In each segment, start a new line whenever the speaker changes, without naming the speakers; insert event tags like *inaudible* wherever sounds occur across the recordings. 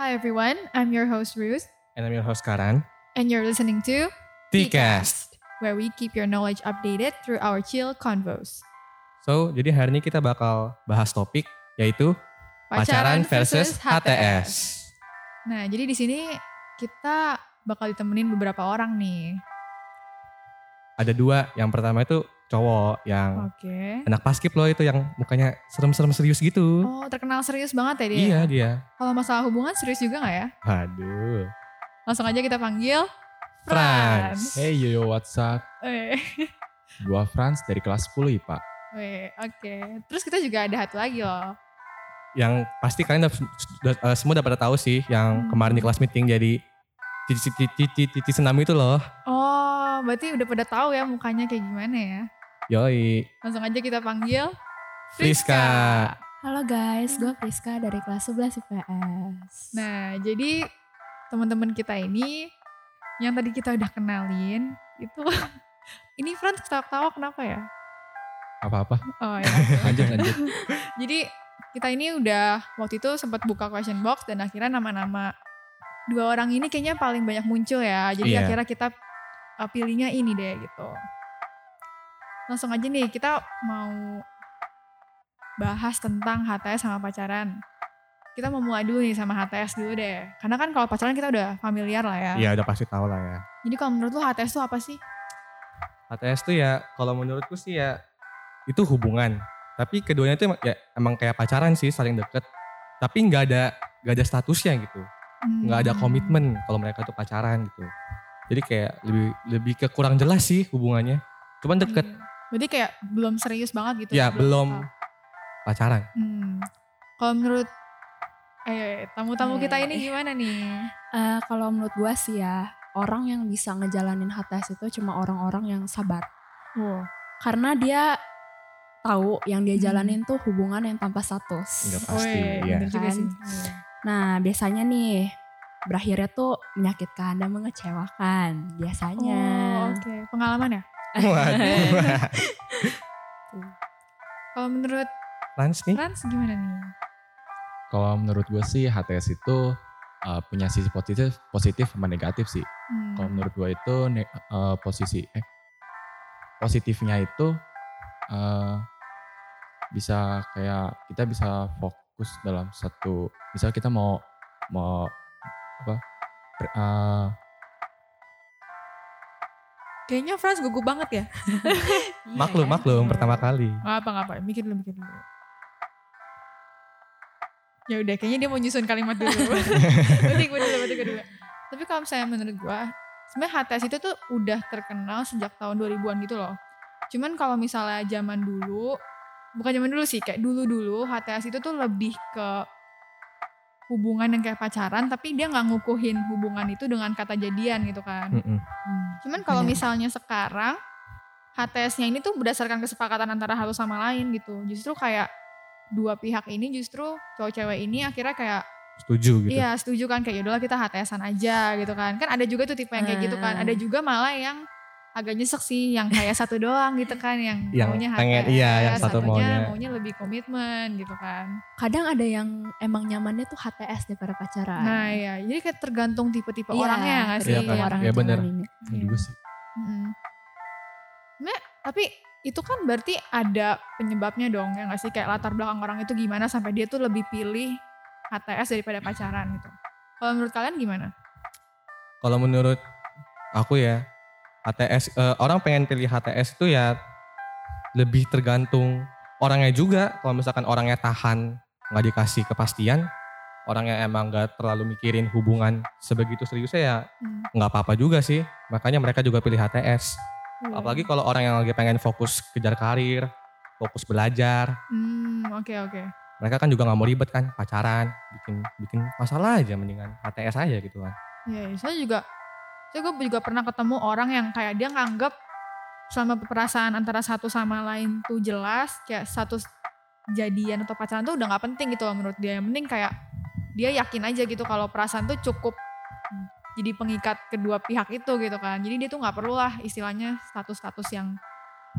Hi everyone, I'm your host Ruth,
And I'm your host Karan.
and you're listening to
T-Cast.
where we keep your knowledge updated through our chill convos.
So, jadi hari ini kita bakal bahas topik yaitu pacaran versus HTS.
Nah, jadi di sini kita bakal ditemenin beberapa orang nih.
Ada dua, yang pertama itu cowok yang
Oke.
anak paskip loh itu yang mukanya serem-serem serius gitu.
Oh, terkenal serius banget ya dia.
iya dia.
Kalau masalah hubungan serius juga nggak ya?
Aduh.
Langsung aja kita panggil Franz.
Franz.
Hey yo yo what's up?
Eh,
Gua Franz dari kelas 10 IPA.
weh, Oke. Terus kita juga ada satu lagi loh.
Yang pasti kalian dap- sudah- eh, semua udah pada tahu sih
Hmm.
yang kemarin di kelas meeting jadi Cici Cici Cici Cici Senam itu loh.
Oh, berarti udah pada tahu ya mukanya kayak gimana ya?
Yoi.
Langsung aja kita panggil
Friska.
Halo guys, gue Priska dari kelas 11 IPS.
Nah, jadi teman-teman kita ini yang tadi kita udah kenalin itu *laughs* ini Franz ketawa-ketawa kenapa ya?
Apa-apa? *laughs*
Oh ya.
Lanjut lanjut.
jadi kita ini udah waktu itu sempat buka question box dan akhirnya nama-nama dua orang ini kayaknya paling banyak muncul ya. Jadi
Iya.
akhirnya kita uh, pilihnya ini deh gitu. Langsung aja nih kita mau bahas tentang HTS sama pacaran. Kita mau mulai dulu nih sama HTS dulu deh. Karena kan kalau pacaran kita udah familiar lah ya.
Iya udah pasti tahu lah ya.
Jadi kalau menurut lu HTS tuh apa sih?
HTS tuh ya kalau menurutku sih ya itu hubungan. Tapi keduanya tuh emang, ya, emang kayak pacaran sih saling deket. Tapi nggak ada nggak ada statusnya gitu. Nggak ada
Hmm.
komitmen kalau mereka tuh pacaran gitu. Jadi kayak lebih lebih ke kurang jelas sih hubungannya. Cuman deket
Iya. Berarti kayak belum serius banget gitu.
ya belum
total.
pacaran.
Hmm. Kalau menurut eh tamu-tamu kita ini
Eh.
gimana nih?
Eh, kalau menurut gue sih ya, orang yang bisa ngejalanin HTS itu cuma orang-orang yang sabar.
Wow.
Karena dia tahu yang dia
Hmm.
jalanin tuh hubungan yang tanpa status.
Iya, pasti, iya.
juga
Kan?
sih.
Nah, biasanya nih berakhirnya tuh menyakitkan dan mengecewakan biasanya. Iya.
Oh, oke. Pengalaman ya?
*laughs*
Waduh.
Kalau menurut
Lans nih.
Trans gimana nih?
Kalau menurut gue sih HTS itu uh, punya sisi positif, positif sama negatif sih.
Hmm.
Kalau menurut gue itu ne- uh, posisi eh positifnya itu uh, bisa kayak kita bisa fokus dalam satu misal kita mau mau apa ber- uh,
Kayaknya Frans gugup banget ya?
Maklum maklum pertama kali.
Gak apa nggak apa, mikir dulu mikir dulu. Ya udah, kayaknya dia mau nyusun kalimat dulu. berarti gue dulu, berarti gue dulu. Tapi kalau misalnya menurut gue, sebenarnya HTS itu tuh udah terkenal sejak tahun 2000-an gitu loh. Cuman kalau misalnya zaman dulu, bukan zaman dulu sih, kayak dulu-dulu HTS itu tuh lebih ke hubungan yang kayak pacaran, tapi dia nggak ngukuhin hubungan itu dengan kata jadian gitu kan.
Mm-mm.
Hmm.
Cuman
Iya.
kalau
Benar.
misalnya sekarang HTS-nya ini tuh berdasarkan kesepakatan antara satu sama lain gitu. Justru kayak dua pihak ini justru cowok cewek ini akhirnya kayak
Setuju gitu.
iya setuju kan kayak yaudahlah kita HTS-an aja gitu kan. Kan ada juga tuh tipe yang kayak gitu kan.
Ah.
Ada juga malah yang agak nyesek sih yang kayak satu doang gitu kan yang,
Yang
maunya
pengen-
HTS,
iya, yang satu
satunya
maunya.
lebih komitmen gitu kan.
Kadang ada yang emang nyamannya tuh HTS daripada pacaran.
Nah, iya, jadi kayak tergantung tipe-tipe
Iya,
orangnya nggak sih?
Iya,
tergantung
kan?
orang
Iya,
yang
bener.
jalaninnya.
ini juga sih
Mm. Nah, tapi itu kan berarti ada penyebabnya dong ya nggak sih kayak latar belakang orang itu gimana sampai dia tuh lebih pilih HTS daripada pacaran gitu. Kalau menurut kalian gimana?
kalau menurut aku ya HTS eh, orang pengen pilih HTS itu ya lebih tergantung orangnya juga kalau misalkan orangnya tahan nggak dikasih kepastian orangnya emang nggak terlalu mikirin hubungan sebegitu seriusnya ya
Hmm.
nggak apa-apa juga sih makanya mereka juga pilih HTS
Iya. Hmm.
apalagi kalau orang yang lagi pengen fokus kejar karir fokus belajar
Hmm, oke oke.
mereka kan juga nggak mau ribet kan pacaran bikin bikin masalah aja mendingan HTS aja gitu kan
Iya, iya. saya juga saya gue juga pernah ketemu orang yang kayak dia nganggep selama perasaan antara satu sama lain tuh jelas kayak satu jadian atau pacaran tuh udah nggak penting gitu loh menurut dia yang penting kayak dia yakin aja gitu kalau perasaan tuh cukup jadi pengikat kedua pihak itu gitu kan jadi dia tuh nggak perlulah istilahnya status-status yang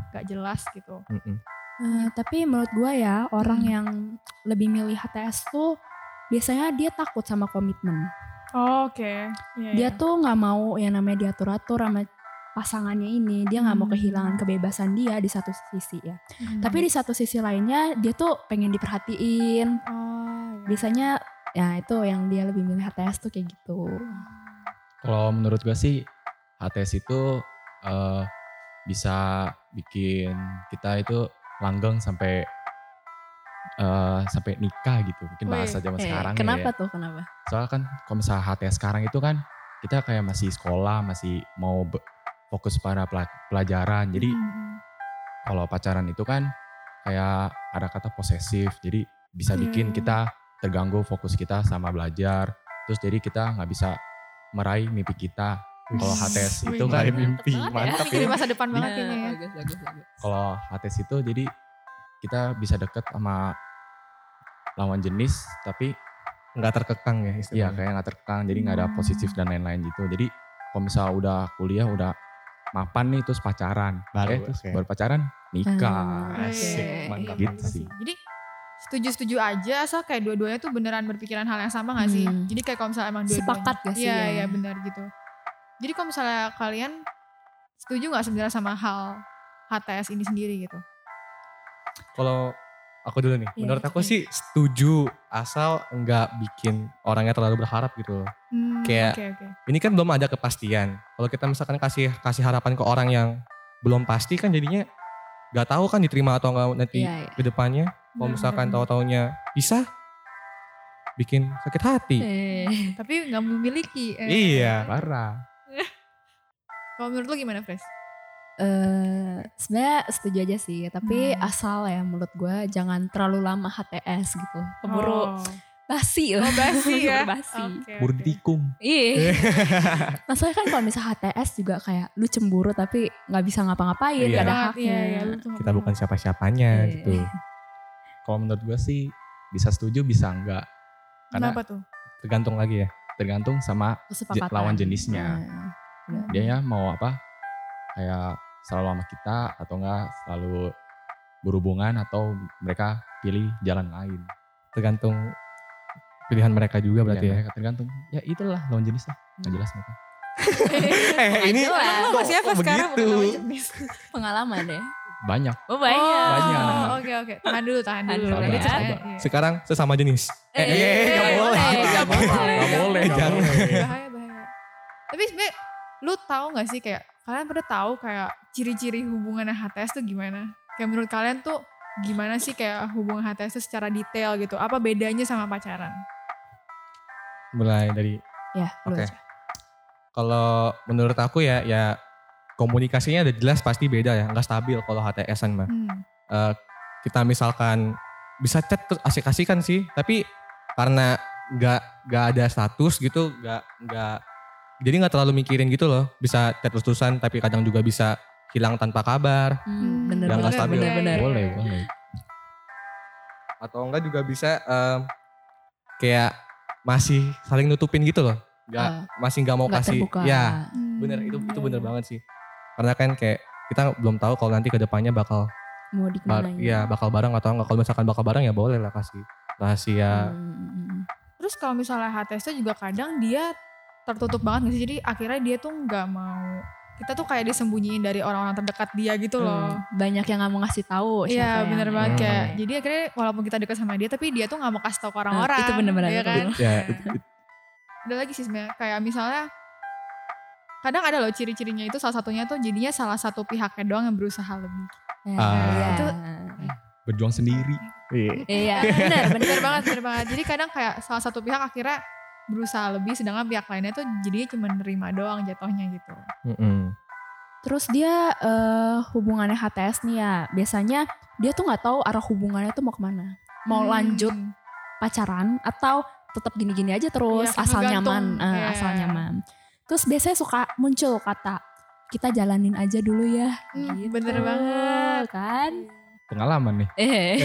gak jelas gitu
Mm-mm.
Hmm. Eh, tapi menurut gue ya orang yang lebih milih HTS tuh biasanya dia takut sama komitmen.
Oh, Oke. Iya,
Dia
iya.
tuh nggak mau yang namanya diatur-atur sama pasangannya ini. Dia nggak mau
Hmm.
kehilangan kebebasan dia di satu sisi ya.
Hmm.
Tapi di satu sisi lainnya dia tuh pengen diperhatiin.
Oh, iya.
Biasanya ya itu yang dia lebih milih HTS tuh kayak gitu.
Kalau menurut gue sih HTS itu eh, bisa bikin kita itu langgeng sampai eh, sampai nikah gitu. Mungkin
Wih,
bahasa zaman
Eh,
sekarang
kenapa
ya.
tuh? Kenapa?
Soalnya kan kalau misalnya HTS sekarang itu kan kita kayak masih sekolah, masih mau be- fokus pada pela- pelajaran. Jadi
Hmm.
kalau pacaran itu kan kayak ada kata posesif jadi bisa
Iya,
bikin
iya.
kita terganggu fokus kita sama belajar terus jadi kita nggak bisa meraih mimpi kita kalau HTS itu
Wih,
kan
mantap
mimpi,
banget ya.
mantap
Mikirin masa depan banget
Iya,
ini ya.
Bagus, bagus, bagus.
kalau HTS itu jadi kita bisa deket sama lawan jenis tapi
Nggak terkekang ya
ya
istilahnya.
kayak nggak terkekang jadi nggak ada
Hmm.
positif dan lain-lain gitu jadi kalau misal udah kuliah udah mapan nih terus pacaran
Baru,
Eh, terus
oke.
baru pacaran nikah
Ah,
Asik,
Iya, iya,
mantap,
iya,
mantap.
sih. Jadi setuju-setuju aja asal kayak dua-duanya tuh beneran berpikiran hal yang sama gak sih?
Hmm.
Jadi kayak kalau misalnya emang dua-duanya.
Sepakat gak sih
Iya,
ya?
iya benar gitu. Jadi kalau misalnya kalian setuju gak sebenarnya sama hal HTS ini sendiri gitu?
Iya.
Kalau aku dulu nih,
Iya,
menurut aku
oke.
sih setuju asal nggak bikin orangnya terlalu berharap gitu loh.
Hmm,
Kayak-
oke, oke.
Ini kan belum ada kepastian. Kalau kita misalkan kasih kasih harapan ke orang yang belum pasti kan jadinya nggak tahu kan diterima atau nggak nanti
Iya, iya.
ke depannya. Kalau
Benar,
misalkan
benar, benar.
tahu-taunya pisah, bikin sakit hati.
Eh,
tapi nggak memiliki. eh.
Iya.
parah
Kalau menurut lu gimana, Fres?
eh, sebenarnya setuju aja sih, tapi
Hmm.
asal ya menurut gua jangan terlalu lama HTS gitu. Keburu
Oh,
basi lah.
Oh,
*laughs*
basi ya.
Basi.
Oke,
buru
oke.
ditikung
Iya.
*laughs*
Masalahnya kan kalau misalnya HTS juga kayak lu cemburu tapi nggak bisa ngapa-ngapain,
Iya.
nggak ada
Banget,
haknya.
Iya, iya, lu tuh nggak
Kita
pernah.
bukan siapa-siapanya
Iya.
gitu.
kalau menurut gue sih bisa setuju bisa enggak karena
Kenapa tuh?
Tergantung lagi ya.
tergantung sama
Kesepakatan.
lawan jenisnya.
Iya.
Nah,
Iya,
dia ya mau apa kayak selalu sama kita atau enggak selalu berhubungan atau mereka pilih jalan lain
Tergantung pilihan mereka juga berarti ya.
mereka tergantung ya itulah lawan jenis lah nggak jelas mereka
Eh ini
Lu sama
Jelas.
kok-
siapa
kok
sekarang? Udah
begitu?
Eh,
tahu jenis.
*laughs* Pengalaman deh.
banyak
Iya,
Oh,
Oh,
Banyak.
Oke, oke. Tahan dulu, tahan
Tahan
dulu.
dulu
Nanti
ya.
ceritanya, iya.
Sekarang sesama jenis. iya,
Eh,
nggak
eh,
boleh.
eh, nggak boleh.
Nggak boleh,
Nggak
jangan. Iya.
bahaya bahaya tapi sebenernya lu tahu nggak sih kayak kalian pada tahu kayak ciri-ciri hubungan HTS tuh gimana kayak menurut kalian tuh gimana sih kayak hubungan HTS tuh secara detail gitu apa bedanya sama pacaran
Mulai dari
Ya, lu
Oke.
aja.
kalau menurut aku ya ya komunikasinya udah jelas pasti beda ya, nggak stabil kalau HTSan mah.
hmm.
Eh, kita misalkan bisa chat terus asik-asikan sih, tapi karena nggak nggak ada status gitu, nggak nggak jadi nggak terlalu mikirin gitu loh. Bisa chat terus-terusan, tapi kadang juga bisa hilang tanpa kabar.
Hmm,
Yang
bener
nggak
banget,
stabil.
bener-bener.
boleh
iya.
boleh
atau enggak juga bisa em, kayak masih saling nutupin gitu loh nggak
Ah,
masih nggak mau
nggak
kasih
terbuka.
ya
hmm.
bener itu itu bener banget sih karena kan kayak kita belum tahu kalau nanti kedepannya bakal
Mau
bar,
dikemanain.
ya bakal bareng atau enggak kalau misalkan bakal bareng ya boleh lah kasih rahasia
Hmm.
terus kalau misalnya HTS tuh juga kadang dia tertutup banget gak sih jadi akhirnya dia tuh nggak mau kita tuh kayak disembunyiin dari orang-orang terdekat dia gitu loh
Hmm, Banyak yang nggak mau ngasih tahu. siapa
Iya
yang- gitu.
bener banget
Hmm.
kayak jadi akhirnya walaupun kita dekat sama dia tapi dia tuh nggak mau kasih tau ke orang-orang
Nah, itu bener-bener, Iya.
ya
itu
kan?
ya itu- itu-
ada lagi sih sebenarnya kayak misalnya kadang ada loh ciri-cirinya itu salah satunya tuh jadinya salah satu pihaknya doang yang berusaha lebih
Ya,
Ah.
iya.
Itu-
berjuang sendiri
*laughs*
Iya, bener, bener
bener banget bener banget jadi kadang kayak salah satu pihak akhirnya berusaha lebih sedangkan pihak lainnya tuh jadinya cuma nerima doang jatuhnya gitu
Mm-mm.
Terus dia eh, hubungannya HTS nih ya. Biasanya dia tuh nggak tahu arah hubungannya tuh mau kemana.
Hmm.
Mau lanjut pacaran atau tetap gini-gini aja terus
Iya, kan
asal nyaman,
ngegantung.
eh,
Iya.
asal nyaman. Terus biasanya suka muncul kata kita jalanin aja dulu ya.
Hmm,
gitu,
bener banget
kan?
pengalaman nih
Eh,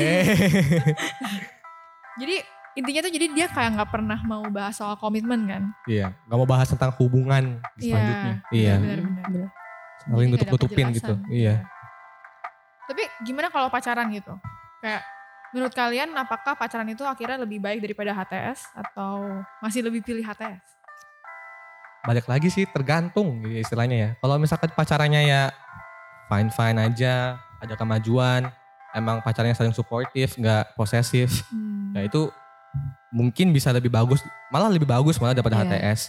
jadi intinya tuh jadi dia kayak nggak pernah mau bahas soal komitmen kan
*laughs* iya nggak mau bahas tentang hubungan
selanjutnya
Iya.
bener-bener.
Bener.
Jadi
saling
nggak ada
nutup nutupin gitu
penjelasan.
iya
Tapi gimana kalau pacaran gitu? Kayak Menurut kalian apakah pacaran itu akhirnya lebih baik daripada HTS atau masih lebih pilih HTS?
balik lagi sih tergantung gitu ya istilahnya ya. Kalau misalkan pacarannya ya fine fine aja, ada kemajuan, emang pacarnya saling suportif, nggak posesif,
Hmm.
ya itu mungkin bisa lebih bagus, malah lebih bagus malah daripada
Iya.
HTS.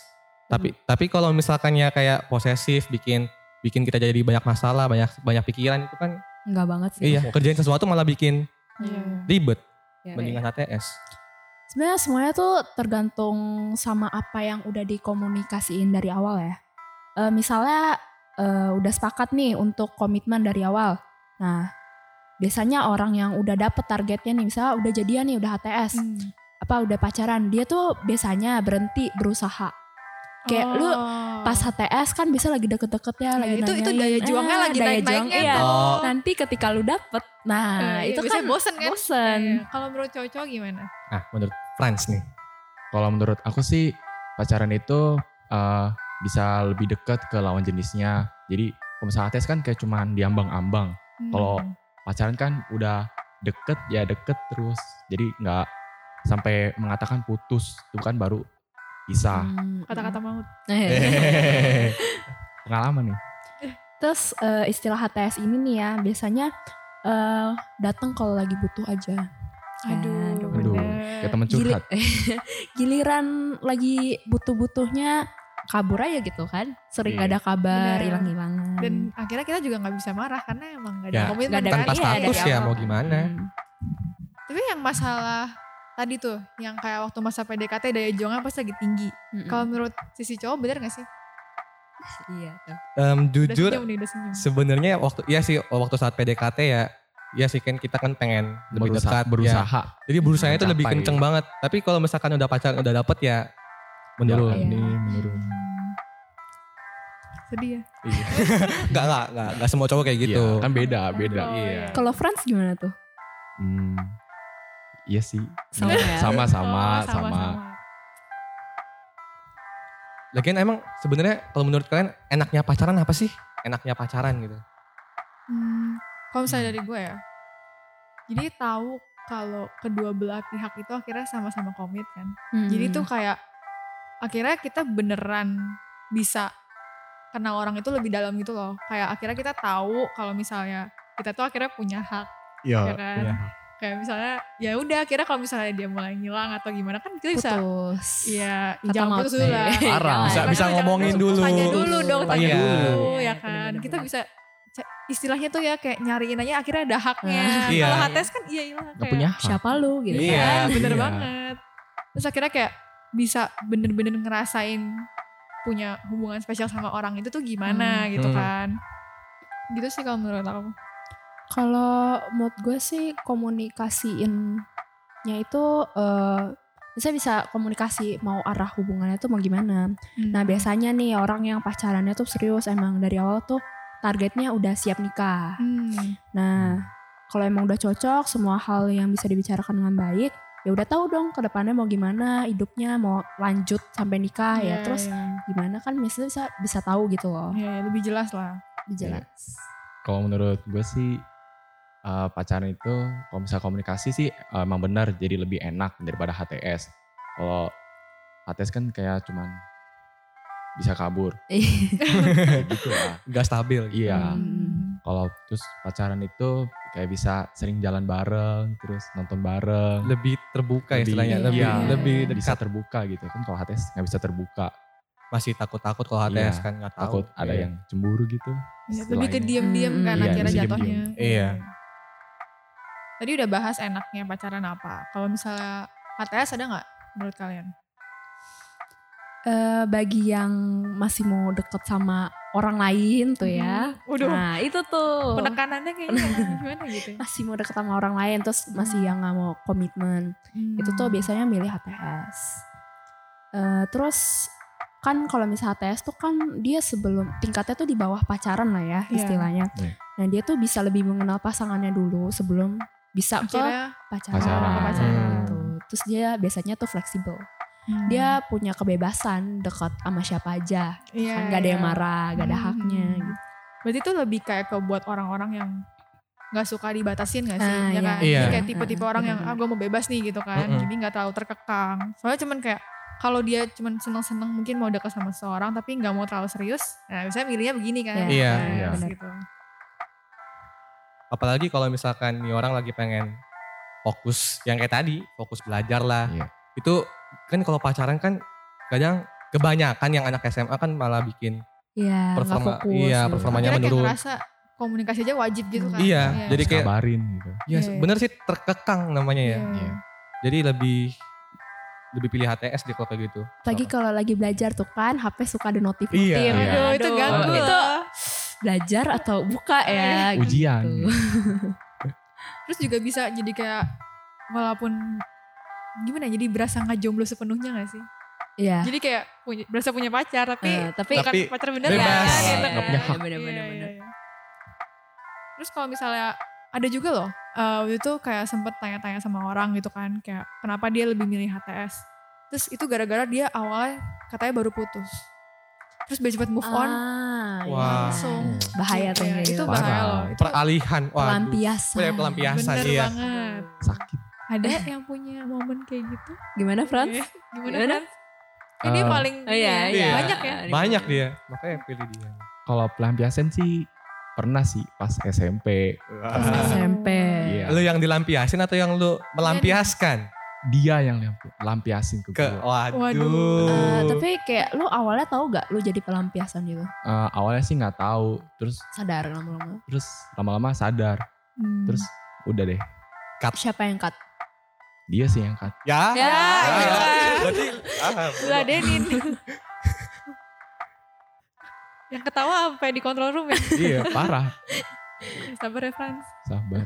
Tapi tapi kalau misalkannya kayak posesif, bikin bikin kita jadi banyak masalah, banyak banyak pikiran itu kan,
Enggak banget sih.
iya kerjain sesuatu malah bikin
Iya.
Hmm.
ribet
Iya,
mendingan HTS.
Sebenarnya semuanya tuh tergantung sama apa yang udah dikomunikasiin dari awal ya. Eh, misalnya eh, udah sepakat nih untuk komitmen dari awal. Nah, biasanya orang yang udah dapet targetnya nih, misalnya udah jadian nih, udah HTS,
Hmm.
apa udah pacaran, dia tuh biasanya berhenti berusaha. Kayak lu
Oh.
Pas HTS kan bisa lagi deket-deket
Iya,
ya, lagi
itu- itu
nanyain,
daya juangnya
"Ah,
lagi
daya
naik-naiknya
juang, iya.
tuh.
Oh.
Nanti ketika lu dapet, nah
Eh, iya,
itu
biasanya
kan
bosen kan?
bosen.
Iya. Kalau menurut cowok-cowok gimana?
Nah, menurut
Friends nih.
kalau menurut aku sih pacaran itu eh, bisa lebih dekat ke lawan jenisnya. Jadi kalau misalnya HTS kan kayak cuman diambang-ambang. Kalau-
Hmm.
Pacaran kan udah deket ya deket terus. Jadi nggak sampai mengatakan putus itu kan baru *laughs* pisah.
Hmm,
kata-kata maut.
Pengalaman nih.
Terus eh, istilah HTS ini nih ya biasanya eh datang kalau lagi butuh aja.
Aduh,
Aduh.
Aduh,
bener.
Kayak temen curhat.
Gili- *laughs* Giliran lagi butuh-butuhnya kabur aja gitu kan. Sering
Iya.
gak ada kabar,
Bener.
hilang-hilangan.
Dan akhirnya kita juga nggak bisa marah karena emang gak ada
Ya,
komitmen
Nggak ada
kan?
tanpa
iya, dari
status ya
awal
mau
kan.
gimana?
Hmm.
Tapi yang masalah tadi tuh, yang kayak waktu masa PDKT daya juangnya pasti lagi tinggi.
Mm-mm.
Kalau menurut sisi cowok bener gak sih? *laughs*
iya. tuh.
Em,
Udah
jujur
senyum nih, udah senyum.
Sebenarnya waktu ya sih waktu saat PDKT ya ya sih kan kita kan pengen lebih dekat
Berusaha-
ya.
berusaha.
Jadi berusaha itu lebih
Mencapai.
kenceng banget. Tapi kalau misalkan udah pacaran udah dapet ya menurun.
Iya.
Ini Ya, menurun.
Hmm. Sedih ya.
Iya.
Enggak enggak enggak enggak semua cowok kayak gitu.
Iya, kan beda, beda.
Oh, iya.
Kalau France gimana tuh?
Hmm, iya sih.
Sama ya?
sama, sama,
Oh,
sama.
Lagian emang sebenarnya kalau menurut kalian enaknya pacaran apa sih? Enaknya pacaran gitu.
Hmm, kalau misalnya dari gue ya, jadi tahu kalau kedua belah pihak itu akhirnya sama-sama komit kan.
Hmm.
Jadi tuh kayak akhirnya kita beneran bisa kenal orang itu lebih dalam gitu loh. Kayak akhirnya kita tahu kalau misalnya kita tuh akhirnya punya hak
Iya.
ya kan. Kayak misalnya ya udah akhirnya kalau misalnya dia mulai ngilang atau gimana kan kita bisa
putus.
Iya,
Kata
jangan
maut
putus
deh.
dulu
*laughs*
lah.
Parah.
Jangan.
Bisa- bisa
Jangan,
ngomongin
jangan.
dulu.
Tanya dulu dong, tanya
Iya.
dulu ya
Iya,
kan.
bener-bener.
Kita bisa ca- istilahnya tuh ya kayak nyariin aja akhirnya ada haknya.
Ah.
Iya.
Kalau HTS kan iya ilah
Gak
kayak.
punya hak.
Siapa lu gitu
Iya.
Iya, bener
Iya.
banget. Terus akhirnya kayak bisa bener-bener ngerasain punya hubungan spesial sama orang itu tuh gimana
Hmm.
gitu
Hmm.
kan. Gitu sih kalau menurut aku.
Kalau Eh, mood gue sih komunikasiinnya itu eh saya bisa komunikasi mau arah hubungannya tuh mau gimana.
Hmm.
Nah biasanya nih orang yang pacarannya tuh serius emang dari awal tuh targetnya udah siap nikah.
Hmm.
Nah kalau emang udah cocok semua hal yang bisa dibicarakan dengan baik ya udah tahu dong ke depannya mau gimana hidupnya mau lanjut sampai nikah
Iya,
ya terus
iya.
gimana kan biasanya bisa bisa tahu gitu loh
Iya, iya, lebih jelas lah. Iya.
dijelas.
Kalau menurut gue sih eh, pacaran itu kalau misalnya komunikasi sih eh, emang benar jadi lebih enak daripada HTS. Kalau HTS kan kayak cuman bisa
*laughs*
kabur
*laughs*
gitu lah.
Enggak stabil. gitu.
Iya.
Hmm.
Kalau terus pacaran itu kayak bisa sering jalan bareng, terus nonton bareng.
Lebih terbuka
Iya. Lebih-
istilahnya, lebih
iya.
lebih
bisa
dekat.
terbuka gitu kan kalau HTS nggak bisa terbuka
Masih takut-takut kalau HTS
Iya.
kan nggak tahu.
takut ada
Iya.
yang cemburu gitu
Ya, lebih ke
Selainnya.
diam-diam
Mm,
kan
mm. Iya,
akhirnya
bisa
jatuhnya.
diem-diem.
Iya.
Tadi udah bahas enaknya pacaran apa. Kalau misalnya HTS ada nggak menurut kalian?
Eh, bagi yang masih mau deket sama orang lain tuh ya.
Hmm, *laughs* Waduh,
Nah itu tuh
penekanannya kayaknya gimana gitu.
masih mau deket sama orang lain terus masih yang nggak mau komitmen
Hmm.
*laughs* itu tuh biasanya milih HTS. Eh, terus kan kalau misal HTS tuh kan dia sebelum tingkatnya tuh di bawah pacaran lah ya
Iya.
istilahnya.
Iya.
Nah dia tuh bisa lebih mengenal pasangannya dulu sebelum bisa ke
akhirnya
pacaran.
Pacaran. Hmm.
Ke
pacaran.
Tuh. Terus dia biasanya tuh fleksibel.
hmm.
Dia punya kebebasan dekat sama siapa aja
Iya,
kan gak ada yang
iya.
marah gak ada
Hmm.
haknya gitu
Berarti itu lebih kayak ke buat orang-orang yang nggak suka dibatasin nggak sih ya
Ah, iya.
kan
Iya.
kayak tipe-tipe orang yang ah gue mau bebas nih gitu kan
Mm-mm.
jadi nggak terlalu terkekang soalnya cuman kayak kalau dia cuman seneng-seneng mungkin mau dekat sama seseorang tapi nggak mau terlalu serius nah biasanya milihnya begini kan
Iya,
Nah,
iya.
terus gitu
Apalagi kalau misalkan nih orang lagi pengen fokus yang kayak tadi, fokus belajar lah.
Iya.
Itu kan kalau pacaran kan kadang kebanyakan yang anak SMA kan malah bikin
Iya, nggak
Performa-
fokus.
iya,
gitu.
performa- Namanya
Akhirnya kayak
menurut.
ngerasa komunikasi aja wajib gitu kan
Iya, jadi
Jadi
kayak-
kabarin gitu.
ya
Iya, iya.
bener sih terkekang namanya ya.
Iya.
Jadi lebih lebih pilih HTS di kalau kayak gitu.
Apalagi kalau lagi belajar tuh kan HP suka ada notif.
Iya.
notif.
Iya.
Ya, Aduh, itu ganggu
Itu
loh. Iya.
belajar atau buka ya? gitu.
Ujian.
terus juga bisa jadi kayak walaupun gimana ya, jadi berasa nggak jomblo sepenuhnya gak sih
Iya.
jadi kayak punya, berasa punya pacar tapi
Eh, tapi
bukan
Tapi
pacar bener
bebas.
kan
Iya,
gitu
nggak punya
kan.
hak.
Iya,
Bener-bener,
iya,
bener.
iya. terus kalau misalnya ada juga loh eh, waktu itu kayak sempet tanya-tanya sama orang gitu kan kayak kenapa dia lebih milih HTS terus itu gara-gara dia awalnya katanya baru putus terus dia cepat move on
Wah.
Ah,
iya. langsung
Bahaya tuh
Iya,
kayak
itu
gitu.
bahaya
Parah.
loh itu
Peralihan. Waduh.
Pelampiasan.
Kayak pelampiasan
bener
iya.
banget
Sakit.
ada yang punya momen kayak gitu
Gimana Frans?
Iya. gimana
Gimana?
Frans? Kan dia
Eh,
paling
Oh iya,
iya.
banyak ya
Banyak dia, makanya pilih dia.
Kalau pelampiasan sih pernah sih pas SMP.
SMP.
Iya.
Lu yang dilampiasin atau yang lu melampiaskan
Dia yang lampi- lampiasin ke,
ke oh.
gue.
waduh.
Waduh.
Eh, tapi kayak lu awalnya tahu gak lu jadi pelampiasan gitu?
Eh, awalnya sih nggak tahu. Terus
Sadar lama-lama.
terus lama-lama sadar.
Hmm.
Terus udah deh.
Siapa yang cut?
Dia sih yang cut.
ya.
Ya,
ya.
iya.
Berarti ah,
Diladenin. yang ketawa sampai di control room ya.
iya parah.
Sabar ya Frans.
Sabar.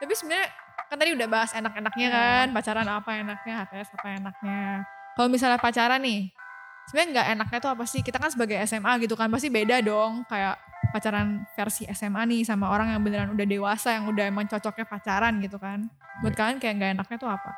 Tapi sebenarnya kan tadi udah bahas enak-enaknya kan, pacaran apa enaknya, HTS apa enaknya. Kalau misalnya pacaran nih, sebenarnya nggak enaknya tuh apa sih? Kita kan sebagai SMA gitu kan pasti beda dong kayak pacaran versi SMA nih sama orang yang beneran udah dewasa yang udah emang cocoknya pacaran gitu kan. Buat
Iya.
kalian kayak nggak enaknya tuh apa?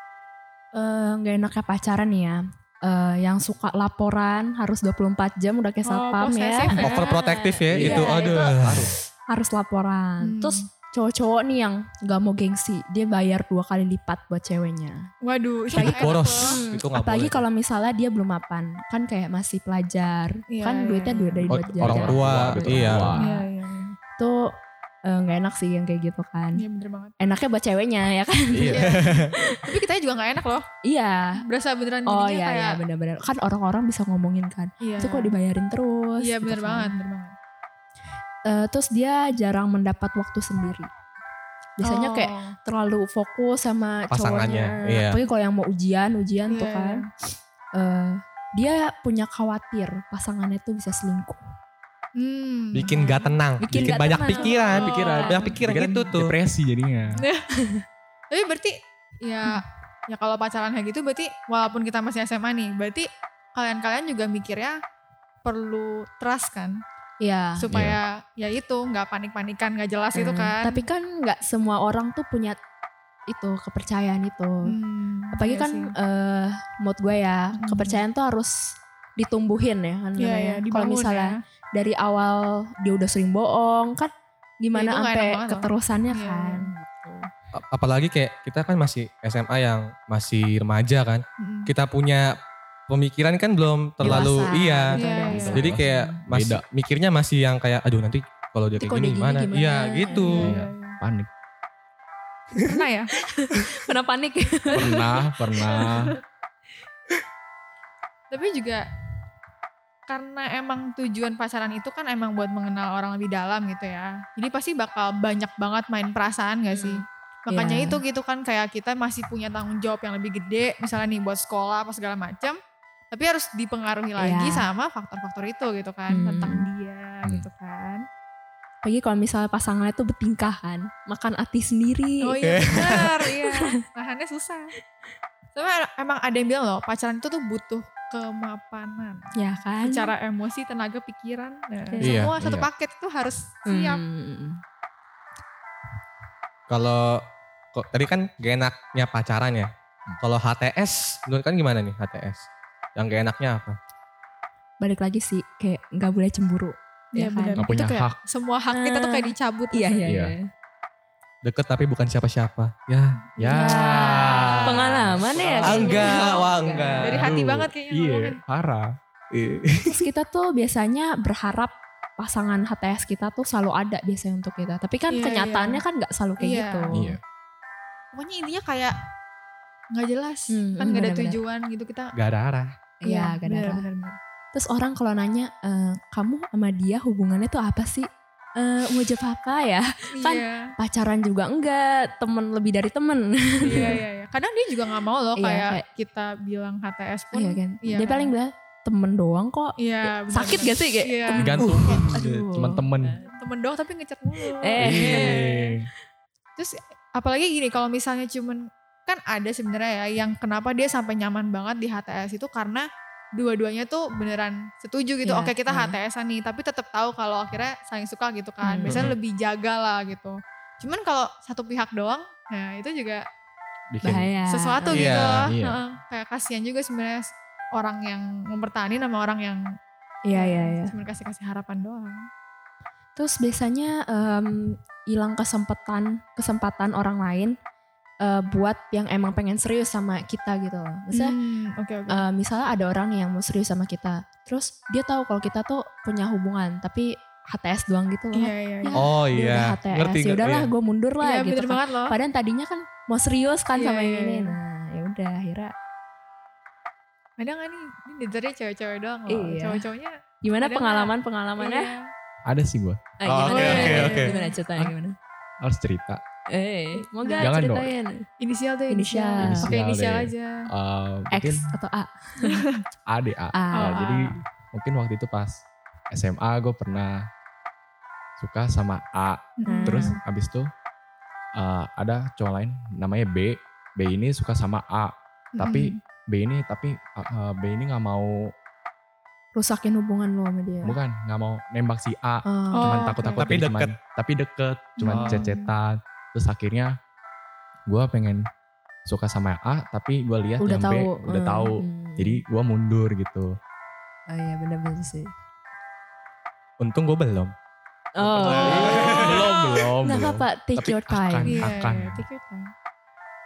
Eh, Gak enaknya pacaran nih ya. Eh, yang suka laporan harus 24 jam udah kayak
Oh,
satpam ya.
posesif ya.
Overprotective ya
Iya,
itu. Aduh.
Harus.
Harus laporan.
Hmm.
Terus cowok-cowok nih yang gak mau gengsi. Dia bayar dua kali lipat buat ceweknya.
Waduh, itu
Itu
nggak enak
Iya, boros.
loh.
Itu nggak
Apalagi
boleh.
kalau misalnya dia belum mapan. Kan kayak masih pelajar.
Iya,
kan
iya,
duitnya
iya.
duit dari
Oh,
duit jajan.
orang tua,
Orang
iya.
tua.
Iya, iya.
Itu eh, nggak enak sih yang kayak gitu kan.
Iya bener banget.
Enaknya buat ceweknya ya kan. *laughs*
Iya.
Tapi kita juga nggak enak loh.
iya.
Berasa beneran jadinya
Oh iya iya
kayak.
benar-benar. Kan orang-orang bisa ngomongin kan.
Iya.
Itu kok dibayarin terus.
Iya
gitu
bener
kan.
banget, bener banget.
Eh, terus dia jarang mendapat waktu sendiri. Biasanya
Oh,
kayak terlalu fokus sama
Pasangannya,
cowoknya.
iya.
Apalagi kalau yang mau ujian, ujian tuh
Iya,
kan. Eh, dia punya khawatir pasangannya tuh bisa selingkuh.
hmm.
Bikin gak tenang,
Bikin
bikin,
nggak
banyak
tenang.
pikiran,
Oh.
pikiran, banyak pikiran
Pikiran
itu tuh.
Depresi jadinya.
Tapi berarti ya ya kalau pacaran kayak gitu berarti walaupun kita masih SMA nih, berarti kalian-kalian juga mikirnya perlu trust kan
Iya.
supaya ya itu nggak panik-panikan nggak jelas itu
Eh,
kan
Tapi kan nggak semua orang tuh punya itu kepercayaan itu.
Hmm,
Apalagi
iya
kan
sih.
eh mood gue ya,
Hmm.
kepercayaan tuh harus ditumbuhin ya kan
Iya,
namanya.
iya,
Kalau
dibangun
misalnya
ya.
dari awal dia udah sering bohong kan
Ya,
gimana
itu nggak
sampai
enak banget loh.
keterusannya
Iya,
kan.
A- Apalagi kayak kita kan masih SMA yang masih remaja kan.
Mm-mm.
Kita punya pemikiran kan belum terlalu
Dewasa,
iya.
gitu,
Iya,
dewasa.
iya.
Jadi kayak masih
Beda.
mikirnya masih yang kayak aduh nanti kalau dia
Nanti
kayak
kalau
gini,
dia gini
gimana?
gimana?
Iya gitu.
Iya,
Panik.
iya. Pernah ya?
Pernah panik.
Pernah, pernah.
tapi juga karena emang tujuan pacaran itu kan emang buat mengenal orang lebih dalam gitu ya jadi pasti bakal banyak banget main perasaan gak sih makanya
Iya.
itu gitu kan kayak kita masih punya tanggung jawab yang lebih gede misalnya nih buat sekolah apa segala macam tapi harus dipengaruhi lagi
Iya.
sama faktor-faktor itu gitu kan
Hmm.
tentang dia
Hmm.
gitu kan
Apalagi kalau misalnya pasangannya tuh betingkahan, makan hati sendiri.
oh iya benar iya nahannya susah Soalnya emang ada yang bilang loh pacaran itu tuh butuh kemapanan
Ya kan?
secara emosi, tenaga, pikiran, nah,
Iya,
semua satu
iya.
paket tuh harus
Hmm.
siap.
Kalau kok tadi kan gak enaknya pacaran ya. Kalau HTS menurut kan gimana nih HTS? Yang gak enaknya apa?
Balik lagi sih kayak nggak boleh cemburu.
Iya,
Ya kan?
benar.
Nggak punya
Itu kayak
hak. Ya.
Semua hak kita tuh kayak dicabut.
Ah.
gitu.
Iya iya
Iya.
iya.
deket tapi bukan siapa-siapa ya
Ya.
Ya.
Pengalaman ya.
Ah,
Iya.
enggak wah enggak
Dari hati
Aduh,
banget kayaknya
Iya,
ngomongin.
parah.
Iya.
Terus kita tuh biasanya berharap pasangan HTS kita tuh selalu ada biasanya untuk kita. Tapi kan
Iya,
kenyataannya kan nggak selalu kayak
Iya.
gitu.
Iya.
Pokoknya intinya kayak nggak jelas, kan
Hmm, hmm,
nggak ada
benar-benar.
tujuan gitu kita. ya,
gak ada arah
Iya,
benar,
kadang-kadang.
benar, benar.
Terus orang kalau nanya, "Eh, kamu sama dia hubungannya tuh apa sih? Eh, mau jawab apa ya? Kan-
Iya,
Pacaran juga enggak, temen lebih dari temen.
*laughs* iya, iya, iya. Kadang dia juga nggak mau loh
Iya,
kayak,
kayak-
kita bilang HTS pun.
Iya kan?
iya
dia
kan.
paling bilang, temen doang kok.
Iya, benar,
Sakit
benar.
gak sih kayak
Iya.
temen
Gantung.
doang? Aduh.
Cuman temen.
Temen doang tapi ngechat mulu. Iya.
Eh.
Iya.
Terus apalagi gini kalau misalnya cuman kan ada sebenarnya ya yang kenapa dia sampai nyaman banget di HTS itu karena dua-duanya tuh beneran setuju gitu.
Iya,
Oke kita
iya.
HTS-an nih tapi tetap tahu kalau akhirnya saling suka gitu kan.
Hmm.
Biasanya lebih jaga lah gitu. Cuman kalau satu pihak doang nah itu juga
Bikin
bahaya.
sesuatu
Iya,
gitu loh.
iya.
Heeh. Kayak kasihan juga sebenarnya orang yang mempertani sama orang yang
Iya, iya, iya.
cuma kasih-kasih harapan doang.
Terus biasanya em, hilang kesempatan kesempatan orang lain eh, buat yang emang pengen serius sama kita gitu loh. Misalnya,
Hmm, Oke oke.
eh, misalnya ada orang yang mau serius sama kita, terus dia tahu kalau kita tuh punya hubungan, tapi HTS doang gitu loh.
Iya iya.
Ya,
iya.
oh
Dia udah
iya
HTS,
ngerti
ya
ngerti,
udahlah,
iya.
gue mundur lah
Iya
gitu.
bener
kan.
banget loh.
Padahal tadinya kan mau serius kan
Iya,
sama yang
iya,
ini.
iya.
Nah, ya udah akhirnya
Ada gak nih? kan Ini diternya cewek-cewek doang loh.
Iya.
Cowok-cowoknya.
gimana
Ada nggak?
pengalaman-pengalamannya?
Iya.
Ada sih gua.
Ah,
Oh,
gimana?
oke, oke,
oke.
Gimana ceritanya gimana?
Harus cerita.
Eh, mau nggak
Jangan dong.
ceritain?
Inisial deh.
Inisial. Nah.
Pakai
Inisial
inisial
deh.
aja.
Eh,
X
mungkin
atau A?
ADA.
A.
Oh,
Nah,
A.
jadi mungkin waktu itu pas SMA gue pernah suka sama A.
Mm-mm.
Terus abis itu eh, ada cowok lain namanya B. B ini suka sama A. Tapi
Mm-mm.
B ini tapi eh, B ini nggak mau
rusakin hubungan lo sama dia.
bukan nggak mau nembak si A.
Oh.
Oh,
Cuman
oke.
takut-takut
Tapi
cuman-
deket.
tapi deket, cuman
Oh.
cecetan. Terus akhirnya gue pengen suka sama A tapi gue lihat
udah
yang
tahu.
B ya, udah
Hmm,
tahu.
hmm.
Jadi gue mundur gitu.
Oh iya benar-benar sih.
untung gue belum
Oh.
belum belum.
Nggak
belum.
apa-apa, take
Tapi
your time.
kan akan.
Iya,
akan.
iya, take your time.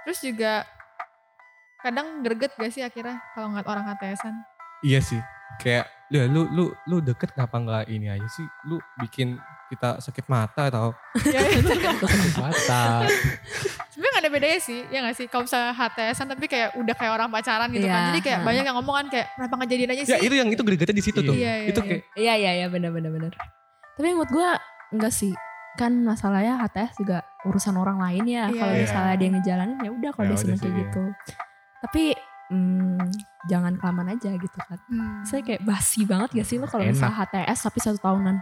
Terus juga kadang greget gak sih akhirnya kalau ngeliat orang
*laughs*
HTS-an?
iya sih kayak ya lu lu lu deket kenapa nggak ini aja sih lu bikin kita sakit mata atau
ya, ya.
Mata.
Sebenernya gak ada bedanya sih, ya gak sih? Kalau misalnya HTS-an tapi kayak udah kayak orang pacaran gitu kan.
Iya,
Jadi kayak
ha.
banyak yang ngomong kan kayak kenapa gak jadiin aja sih?
ya itu yang itu gregetnya di situ tuh
Iya, iya,
itu
iya.
kayak
Iya iya iya benar benar benar. Tapi menurut gue enggak sih. Kan masalahnya HTS juga urusan orang lain ya.
Iya,
kalau
iya.
misalnya dia ngejalanin ya udah kalau
Ya
dia seneng
udah sih,
kayak
iya.
gitu. Tapi hmm, jangan kelamaan aja gitu kan.
Hmm.
Saya kayak basi banget gak sih lo kalau
Enak.
misalnya HTS tapi satu tahunan.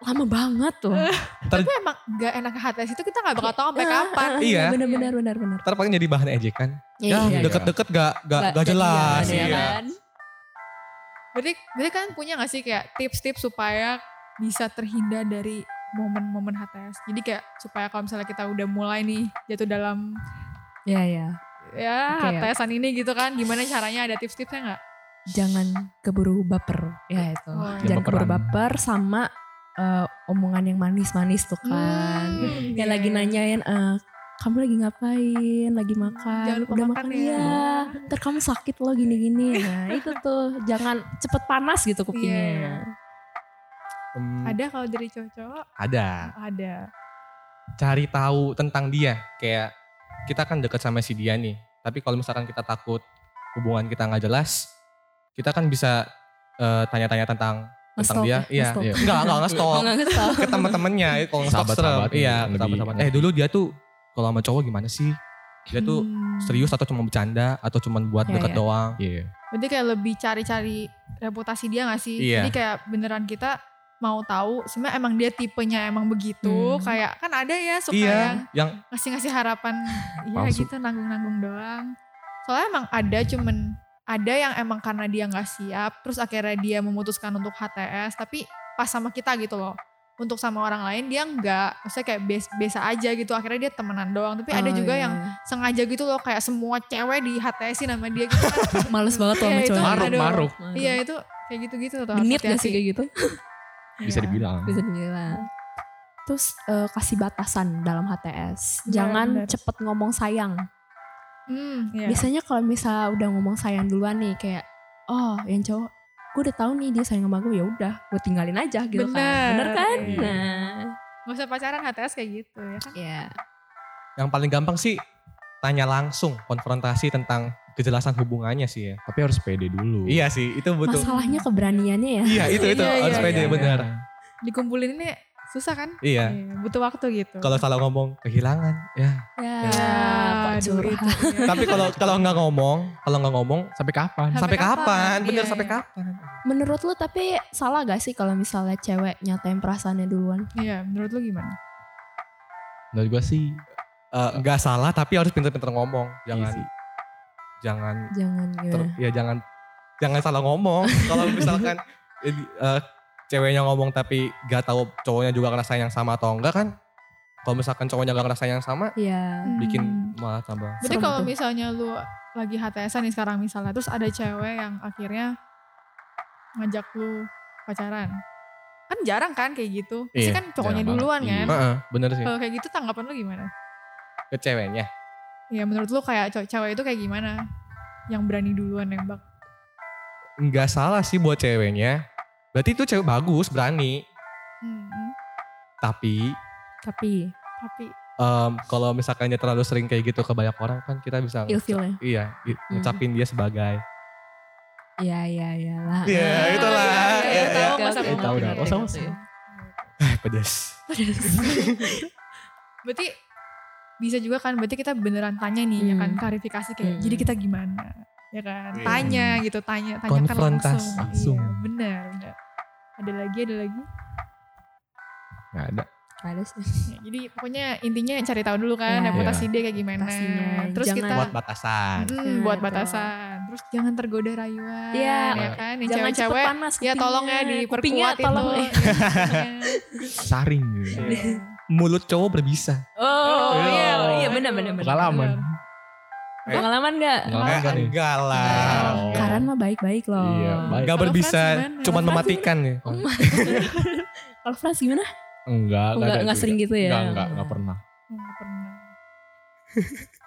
Lama banget tuh.
ter
Tapi emang gak enak ke HTS itu kita gak bakal tahu
Nah,
sampai kapan.
Iya.
Benar benar benar benar.
ntar paling jadi bahan ejekan
Iya,
ya
iya.
deket-deket gak gak,
Nggak
gak jelas
jadian, ya
iya.
kan?
Berarti, berarti kan punya gak sih kayak tips-tips supaya bisa terhindar dari momen-momen HTS. Jadi kayak supaya kalau misalnya kita udah mulai nih jatuh dalam
Iya iya.
ya
Oke, ya.
HTSan ini gitu kan, gimana caranya ada tips-tipsnya nggak?
jangan keburu baper ya itu
Oh,
iya.
jangan keburu
Baperan.
baper sama eh, omongan yang manis-manis tuh kan
Hmm, iya,
yang lagi
iya.
nanyain eh, kamu lagi ngapain lagi makan
Jangan lupa
udah
makan
makan,
ya.
ya, ntar kamu sakit loh gini-gini nah itu tuh jangan cepet panas gitu
Iya.
kupingnya
Hmm,
Ada kalau dari cowok-cowok
Iya.
ada
ada.
cari tahu tentang dia. Kayak kita kan dekat sama si dia nih. Tapi kalau misalkan kita takut hubungan kita nggak jelas, kita kan bisa eh, tanya-tanya tentang tentang
Ngestalk
dia.
ya,
Iya,
ngestalk.
iya. enggak enggak ngestalk.
Enggak
*laughs*
tahu.
Ke teman-temannya eh, kalau ngestalk serem.
Sahabat-sahabat
Iya,
yang lebih
sahabat-sahabat. Eh dulu dia tuh kalau sama cowok gimana sih? Dia tuh
Hmm.
serius atau cuma bercanda atau cuma buat
Iya,
deket
iya.
doang.
Iya.
Berarti kayak lebih cari-cari reputasi dia nggak sih?
Iya.
Jadi kayak beneran kita mau tahu sebenarnya emang dia tipenya emang begitu
Hmm.
kayak kan ada ya suka
iya,
yang
yang
ngasih-ngasih
*laughs*
harapan ya
Palsu.
gitu nanggung-nanggung doang soalnya emang ada cuman ada yang emang karena dia nggak siap terus akhirnya dia memutuskan untuk HTS tapi pas sama kita gitu loh untuk sama orang lain dia nggak maksudnya kayak bias- biasa aja gitu akhirnya dia temenan doang tapi ada
Oh,
juga yang
iya.
sengaja gitu loh kayak semua cewek di HTS nama dia gitu
*laughs*
kan
males banget tuh
Iya,
sama
itu
cowok
Maruk, aduh. maruk.
Maruk-maruk
iya itu kayak gitu-gitu tuh
genit gak sih
hati-hati.
kayak gitu
bisa
Iya.
dibilang.
bisa dibilang tuh eh, kasih batasan dalam HTS.
Benar,
Jangan
benar.
cepet ngomong sayang.
Hmm, iya.
Biasanya kalau misal udah ngomong sayang duluan nih kayak oh yang cowok gue udah tahu nih dia sayang sama gue ya udah gue tinggalin aja gitu kan.
Benar.
Bener kan?
Iya.
Nah,
Gak usah pacaran HTS kayak gitu ya kan.
ya.
Yang paling gampang sih tanya langsung konfrontasi tentang kejelasan hubungannya sih ya.
Tapi harus pede dulu.
Iya sih, itu butuh.
Masalahnya keberaniannya ya.
Iya, itu itu
Iya, iya,
harus
iya.
pede benar.
Dikumpulin ini susah kan?
Iya.
Iya, butuh waktu gitu.
Kalau salah ngomong kehilangan ya.
Ya,
ya,
kok
aduh,
curhat.
itu, iya.
Tapi kalau kalau nggak ngomong, kalau nggak ngomong
Sampai kapan?
Sampai
sampai
kapan?
kapan? Bener
Iya,
sampai
iya.
kapan?
Menurut lu tapi salah gak sih kalau misalnya cewek nyatain perasaannya duluan?
Iya, menurut lu gimana?
Menurut gue sih,
Eh, Nggak salah tapi harus pintar-pintar ngomong. Jangan
iya sih.
jangan
Jangan
ter-
gimana?
ya
Iya.
jangan jangan salah
*laughs*
ngomong. Kalau misalkan eh, di- eh, ceweknya ngomong tapi nggak tahu cowoknya juga ngerasain yang sama atau enggak kan? Kalau misalkan cowoknya nggak ngerasain yang sama,
Iya.
bikin
Hmm.
malah tambah.
Berarti
Serem
kalau
tuh.
misalnya lu lagi HTS-an nih sekarang misalnya, terus ada cewek yang akhirnya ngajak lu pacaran. Kan jarang kan kayak gitu. Pasti
Iya,
kan cowoknya
jarang
duluan
banget.
kan.
Iya.
Heeh, bener sih.
Kalau kayak gitu tanggapan lu gimana?
Ke ceweknya.
Ya menurut lu kayak cowok cewek itu kayak gimana? Yang berani duluan nembak.
nggak salah sih buat ceweknya. Berarti itu cewek bagus, berani.
Hmm,
Tapi
Tapi
tapi
em, kalau misalkan dia terlalu sering kayak gitu ke banyak orang kan kita bisa
ilfil ya.
iya i-
Hmm.
ngecapin dia sebagai *laughs*
Iya, iya, iya lah.
Iya, itulah.
Ya,
Iya, iya.
tahu masa
Oke, oke,
tahu dah.
oke,
Oh, sama,
gitu ya.
Eh, pedes.
Berarti bisa juga kan berarti kita beneran tanya nih ya kan
Hmm.
klarifikasi kayak
Hmm.
jadi kita gimana ya kan
Iya.
tanya gitu tanya tanya
Konfrontasi
langsung,
langsung.
Iya, bener bener ada lagi ada lagi
Nggak ada.
Ada sih.
Ya, jadi pokoknya intinya cari tahu dulu kan
Iya.
reputasi dia kayak gimana
Reputasinya,
terus
jangan-
kita
Buat batasan.
hmm,
Nah,
buat
betul.
batasan terus jangan tergoda rayuan
Iya,
ya kan yang
Jangan cepet
cewek-cewek
panas
ya tolong ya
kupingnya. Kupingnya
diperkuat itu Iya,
tolong ya. *laughs*
Saring gitu.
Iya. Mulut cowok berbisa.
Oh,
Oh,
iya,
iya.
iya benar benar benar.
Pengalaman.
Pengalaman enggak?
Pengalaman
Eh,
kan nih.
enggak lah.
Oh.
Karan mah baik-baik loh.
Iya, baik.
Enggak
Kalau
berbisa,
Frans gimana? Iya.
cuman
Frans
mematikan ya.
Kalau Frans gimana?
Enggak,
Enggak- enggak
ada juga.
sering gitu ya?
Enggak, enggak, enggak pernah.
Nggak
*laughs*
pernah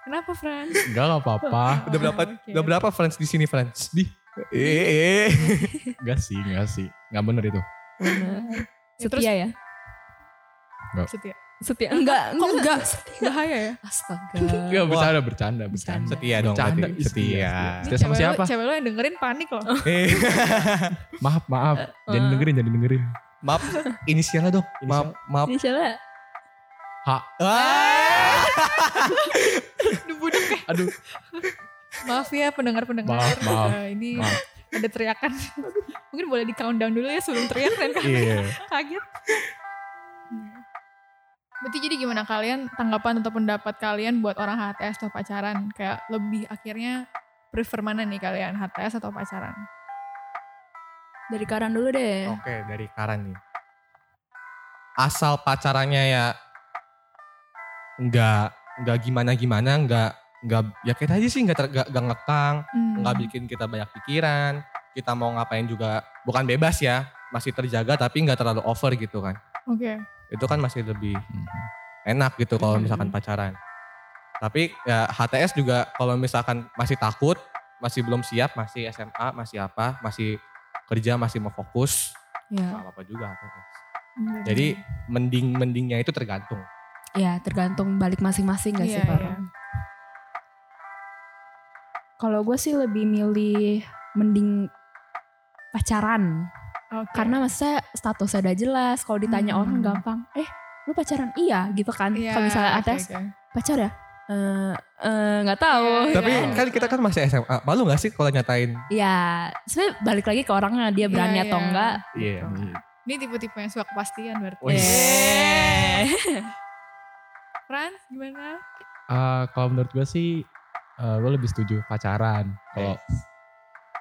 kenapa Fran
Enggak, enggak apa-apa.
Udah berapa
Ah, Oke.
udah berapa friends di sini friends? Di. *laughs* Eh, eh.
Enggak sih, enggak sih. Enggak bener itu.
Ya,
Setia ya?
setia
Setia
Enggak,
kok
*laughs*
enggak bahaya ya
Astaga.
Enggak, bercanda, bercanda,
Bercanda.
bercanda.
Setia dong
Bercanda,
berarti.
iya,
Setia. *laughs*
setia.
Ini
Setia sama
cewek
siapa? Oh.
Lo, cewek lo yang dengerin panik loh. *laughs*
Eh,
Maaf, maaf. Jangan dengerin, jangan dengerin.
Maaf, inisialnya dong. Maaf, maaf.
Ini siapa?
Ah.
Duduk deh.
Aduh,
Maaf ya pendengar-pendengar.
Maaf, maaf,
Eh, ini
maaf.
ada teriakan. *laughs* Mungkin boleh di countdown dulu ya sebelum teriak dan *laughs*
Iya.
kaget. Berarti jadi gimana kalian tanggapan atau pendapat kalian buat orang HTS atau pacaran? Kayak lebih akhirnya prefer mana nih kalian HTS atau pacaran?
Dari Karan dulu deh.
Oh.
Oke, dari Karan nih. Asal pacarannya ya nggak nggak gimana gimana, nggak nggak ya kita aja sih nggak ter- nggak nggak ngekang,
Hmm.
nggak bikin kita banyak pikiran. Kita mau ngapain juga bukan bebas ya, masih terjaga tapi nggak terlalu over gitu kan.
Oke.
Itu kan masih lebih enak gitu kalau
Hmm.
misalkan pacaran. Tapi ya HTS juga kalau misalkan masih takut, masih belum siap, masih SMA, masih apa, masih kerja, masih mau fokus,
Ya,
nggak apa-apa juga HTS. Jadi
Hmm.
mending mendingnya itu tergantung.
ya tergantung balik masing-masing gak sih
Iya,
Pak?
iya.
Kalau gue sih lebih milih mending pacaran.
Oke.
Karena maksudnya statusnya udah jelas. Kalau ditanya
Hmm.
orang gampang, eh lu pacaran? Iya gitu kan.
Iya,
Kalau misalnya
oke,
atas
oke.
pacar ya? Eh,
Eh, enggak tahu.
Iya,
Tapi
iya.
kan kita kan masih SMA. Malu gak sih kalau nyatain?
Ya, sebenarnya balik lagi ke orangnya dia berani
Iya,
atau
iya.
enggak.
Iya.
Ini tipe-tipe yang suka kepastian berarti.
Wih.
Eh. Frans gimana?
Eh, kalau menurut gue sih, eh, gue lebih setuju pacaran. Kalau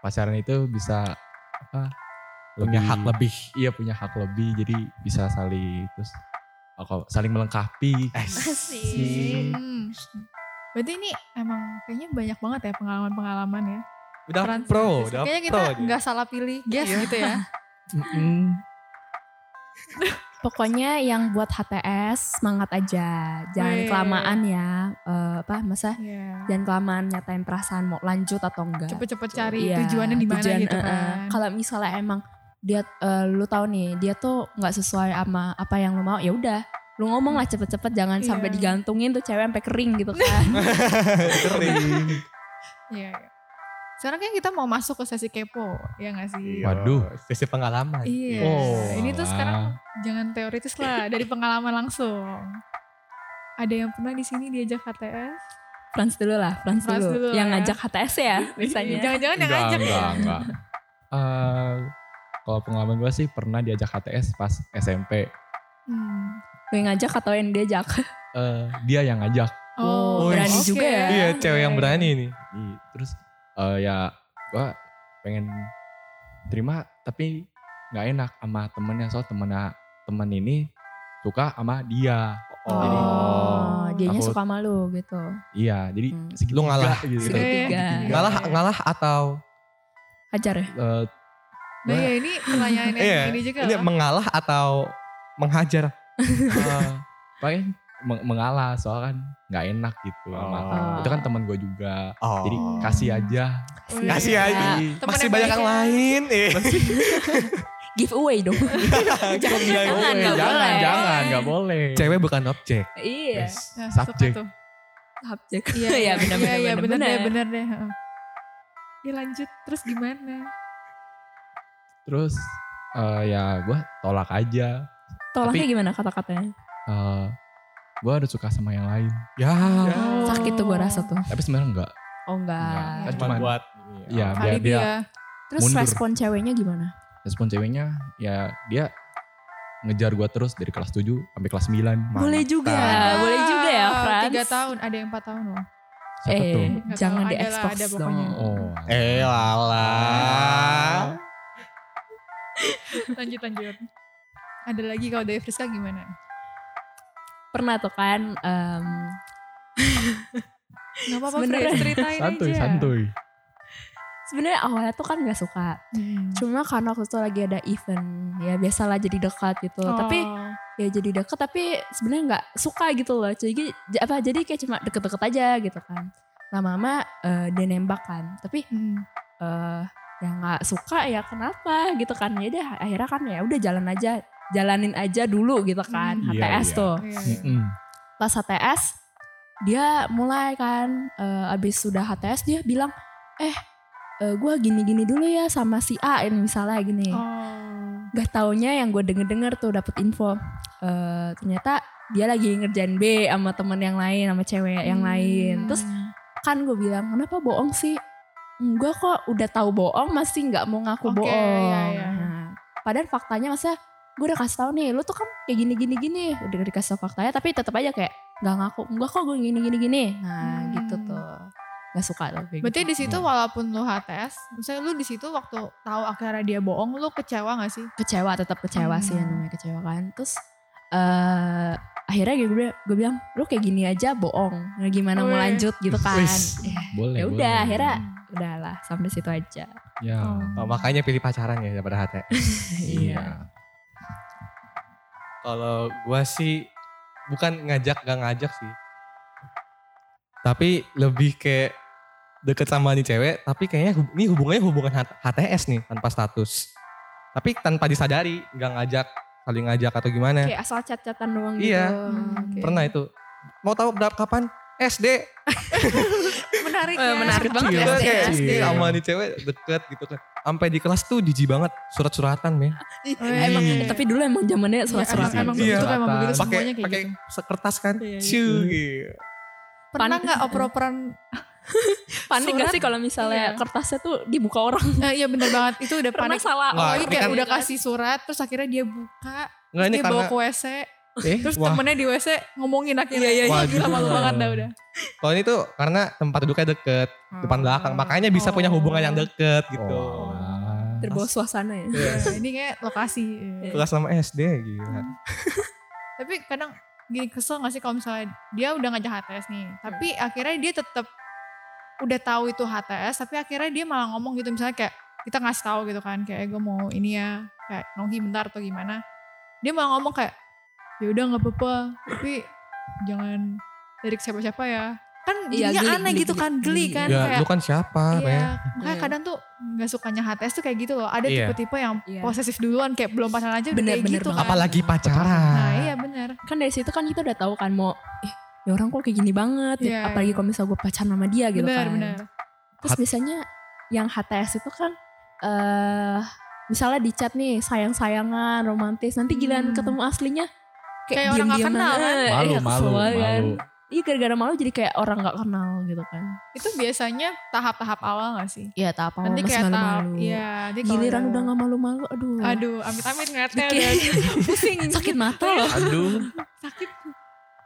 pacaran itu bisa apa?
Punya hak lebih.
Iya punya hak lebih, jadi bisa saling terus eh, kalau saling melengkapi.
Asik.
Hmm. Berarti ini emang kayaknya banyak banget ya pengalaman-pengalaman ya.
*laughs* Udah
Frans.
pro, udah
Kayaknya kita
pro. dia. *laughs*
nggak salah pilih guess gitu ya.
Mm-mm.
pokoknya yang buat HTS semangat aja. Jangan
Wih.
kelamaan ya. Eh, apa masa?
Iya.
Jangan kelamaan nyatain perasaan mau lanjut atau enggak.
Cepet-cepet cari
Iya,
tujuannya di mana
tujuan,
gitu
eh, eh.
kan.
Kalau misalnya emang dia eh, lu tahu nih, dia tuh nggak sesuai sama apa yang lu mau, ya udah. Lu ngomong lah cepet-cepet jangan
Iya.
sampai digantungin tuh cewek sampai kering gitu kan.
*laughs* Iya. iya. Sekarang kan kita mau masuk ke sesi kepo, ya nggak sih?
Iya.
Waduh.
sisi pengalaman.
Iya.
Oh,
ini tuh
alah.
sekarang jangan teoritis lah, dari pengalaman langsung. Ada yang pernah di sini diajak HTS?
Frans dulu lah, Frans
Frans dulu
dulu.
lah
yang
ya.
ngajak HTS
*laughs*
ya biasanya.
Jangan-jangan yang ngajak
enggak,
ya?
enggak. Eh, kalau pengalaman gue sih pernah diajak HTS pas SMP.
Hmm.
Lu yang ngajak atau yang diajak?
Eh, dia yang ngajak.
Oh,
Oh,
berani
oke.
juga ya.
Iya, cewek yang berani nih.
Di- Terus eh, ya gue pengen terima tapi nggak enak sama temennya soal temennya temen ini suka sama dia. Jadi
Oh, dianya
Aku-
suka sama lu gitu.
iya jadi
Hmm.
segitiga
Lu ngalah.
gitu.
Segitiga.
Segitiga.
Ngalah ngalah atau
Hajar ya?
Eh,
Nah, ya ini pertanyaan yang ini juga
Iya, ini
lah.
mengalah atau *laughs* menghajar.
eh, paling meng- mengalah soal kan nggak enak gitu sama
Oh.
itu kan teman gue juga
Oh.
jadi kasih aja
Wih.
kasih aja.
Iya.
Temen
Masih
yang
banyak yang
baik Iya. ya.
lain. Eh.
Giveaway
*laughs*
dong.
Jangan
Jangan, nggak
Iya, jangan
boleh.
jangan nggak boleh
Cewek bukan objek.
iya.
Yes.
Nah, suka
subjek
tuh.
Subjek.
Iya,
*laughs* Iya,
iya,
benar, benar,
iya,
benar,
benar deh,
benar.
benar deh. heeh. Ya lanjut, terus gimana?
terus eh, ya gue tolak aja
Tolaknya
Tapi-
gimana kata-katanya?
Eh gue udah suka sama yang lain
Ya.
Sakit tuh gue rasa tuh.
tapi sebenarnya enggak
Oh enggak.
Kan cuman
buat
ya biar
Kali
dia
dia.
Terus
mundur.
respon ceweknya gimana?
respon ceweknya ya dia ngejar gue terus dari kelas 7 sampai kelas 9
Boleh
juga.
Iya,
Ah,
boleh juga ya, Frans.
Tiga tahun, ada yang empat tahun loh.
siapa tuh
Eh,
Nggak
jangan
tahu, ada lah,
diekspos
ada
dong.
pokoknya.
oh
Eh lala.
Lanjut, lanjut. Ada lagi kalau dari Friska gimana?
Pernah tuh kan em,
Gak apa-apa,
Sebenarnya.
Fris, ceritain
santuy
aja.
santuy
sebenarnya awalnya tuh kan nggak suka.
Hmm.
Cuma karena waktu itu lagi ada event, ya biasalah jadi dekat gitu.
Oh.
Tapi ya jadi deket tapi sebenarnya nggak suka gitu loh jadi j- apa jadi kayak cuma deket-deket aja gitu kan lama-lama eh, dia nembak kan tapi
Hmm.
eh ya nggak suka ya kenapa gitu kan ya udah akhirnya kan ya udah jalan aja jalanin aja dulu gitu kan
Hmm. Iya,
HTS
iya.
tuh
Iya.
Mm-mm.
pas HTS dia mulai kan eh, abis sudah HTS dia bilang eh eh, gua gini-gini dulu ya sama si A ini misalnya gini
Oh.
Gak taunya yang gue denger-denger tuh dapet info eh, ternyata dia lagi ngerjain B sama temen yang lain sama cewek yang
Hmm.
lain terus kan gue bilang kenapa bohong sih gue kok udah tahu bohong masih nggak mau ngaku
Oke,
bohong
iya, iya.
Nah, padahal faktanya masa gue udah kasih tahu nih lu tuh kan kayak gini gini gini udah dikasih tahu faktanya tapi tetap aja kayak nggak ngaku enggak kok gue gini gini gini nah
Hmm.
gitu tuh nggak suka tuh kayak
Berarti
gitu.
di situ walaupun lu HTS, misalnya lu di situ waktu tahu akhirnya dia bohong, lu kecewa gak sih?
kecewa tetap kecewa sih yang
Hmm.
namanya kecewa kan terus eh akhirnya gue bilang- gue bilang lu kayak gini aja bohong nah, gimana mau
Wih.
lanjut gitu kan
Wis,
ya
boleh
ya udah
boleh.
akhirnya udahlah sampai situ aja
ya
Oh, makanya pilih pacaran ya daripada hati.
iya
Kalau gua sih bukan ngajak gak ngajak sih. Tapi lebih kayak deket sama nih cewek, tapi kayaknya hub- ini hubungannya hubungan H- HTS nih tanpa status. Tapi tanpa disadari nggak ngajak, saling ngajak atau gimana.
kayak asal cat-catan doang
Iya.
gitu
Hmm, oke.
Pernah itu. Mau tahu berapa kapan? SD.
Menarik
Eh,
ya.
menarik banget ya.
Iya, kayak
SD ya.
SD sama nih cewek deket gitu kan. Sampai di kelas tuh jijik banget surat-suratan ya.
emang tapi dulu emang zamannya surat-surat
Iya, emang
Iya.
begitu kan, emang begitu
Pakai-
Pakai
semuanya kayak
pakai
gitu.
kertas kan.
Iya, iya.
Ciu, gitu.
Pernah
pan-
nggak oper-operan?
panik gak
Surat?
sih kalau misalnya
Iya.
kertasnya tuh dibuka orang
Eh, Iya bener banget, itu udah
pernah
panik.
salah
Wah,
Oh,
ini
kayak
kan-
udah kasih surat, terus akhirnya dia buka,
Enggak ini
dia
karena
bawa ke WC,
eh,
terus
wah.
temennya di WC ngomongin akhirnya.
Iya, iya,
iya.
Gila malu
Waduh.
banget dah udah.
Kalau ini tuh karena tempat duduknya deket, depan belakang, makanya bisa punya hubungan yang deket gitu.
Oh.
terbawa suasana ya
Iya, ini kayak lokasi. iya.
Kelas sama SD gitu.
Kan Tapi kadang gini kesel gak sih kalau misalnya dia udah ngajak
Iya.
HTS nih, tapi akhirnya dia tetap udah tahu itu HTS, tapi akhirnya dia malah ngomong gitu misalnya kayak kita ngasih tahu gitu kan, kayak "Eh, gue mau ini ya, kayak nongki bentar atau gimana. Dia malah ngomong kayak ya udah nggak apa-apa tapi jangan lirik siapa-siapa ya kan
Iya,
jadinya
geli,
aneh
geli,
gitu
geli,
kan geli
geli.
kan
ya
kayak
lu kan siapa
iya
Ren?
makanya
Iya.
kadang tuh nggak sukanya HTS tuh kayak gitu loh ada
Iya.
tipe-tipe yang
Iya.
posesif duluan kayak belum pacaran aja udah
Bener,
kayak
bener
gitu
banget.
kan
apalagi pacaran
nah iya benar
kan dari situ kan kita udah tahu kan mau eh, ya orang kok kayak gini banget
Iya,
ya, apalagi kalau misalnya gue pacaran sama dia gitu
benar
kan
benar
terus
Hat-
biasanya
yang HTS itu kan eh misalnya di chat nih sayang-sayangan romantis nanti gilaan
Hmm.
ketemu aslinya
Kayak orang nggak
diam-diaman.
kenal
Eh,
kan.
Malu,
ya,
iya, kesel
malu,
banget kan.
malu.
iya gara-gara malu jadi kayak orang nggak kenal gitu kan
itu biasanya tahap-tahap awal gak sih
iya tak apa
nanti
masih
kayak tahap
malu-malu
iya nanti kalau
giliran
udah-
udah nggak malu-malu aduh
aduh amit-amit ngeliatnya
Dikit.
udah pusing
*laughs* sakit mata loh
Aduh.
*laughs*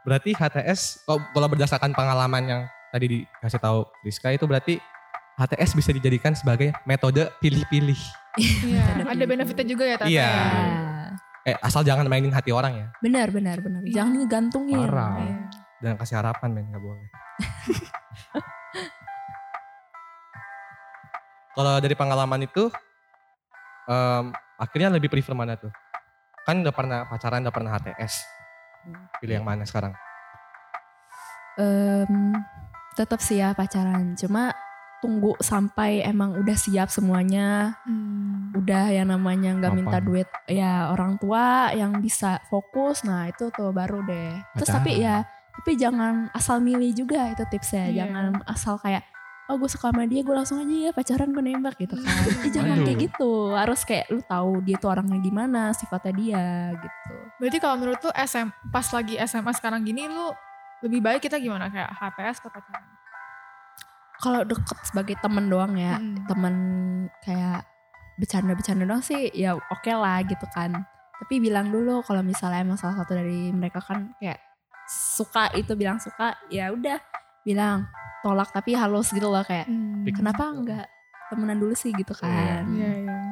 Berarti HTS kalau- oh, kalau berdasarkan pengalaman yang tadi dikasih tahu Rizka itu berarti HTS bisa dijadikan sebagai metode pilih-pilih.
Iya, ada benefitnya juga ya Tata
Iya.
ya.
Eh asal jangan mainin hati orang ya.
benar benar benar
Iya.
jangan ngegantungin
Parah.
Iya.
Dan kasih harapan men nggak boleh. *laughs* kalau dari pengalaman itu em, akhirnya lebih prefer mana tuh? Kan udah pernah pacaran, udah pernah HTS. Pilih yang mana sekarang?
Em, tetap sih ya pacaran cuma tunggu sampai emang udah siap semuanya
Hmm.
udah yang namanya nggak
Mapan.
minta duit ya orang tua yang bisa fokus nah itu tuh baru deh terus tapi ya
Pacaran.
tapi jangan asal milih juga itu
Iya.
tipsnya jangan asal kayak oh gue suka sama dia gue langsung aja ya pacaran gue nembak gitu kan Eh, jangan
Aduh.
kayak gitu harus kayak lu tahu dia tuh orangnya gimana sifatnya dia gitu
Berarti kalau menurut tuh SM pas lagi SMA sekarang gini lu lebih baik kita gimana kayak HTS atau pacaran?
kalau deket sebagai temen doang ya
Hmm.
temen kayak bercanda-bercanda doang sih ya oke lah gitu kan tapi bilang dulu kalau misalnya emang salah satu dari mereka kan kayak suka itu bilang suka ya udah bilang tolak tapi halus gitu loh kayak
Hmm.
Pick-
kenapa enggak temenan dulu sih gitu kan
Iya, iya.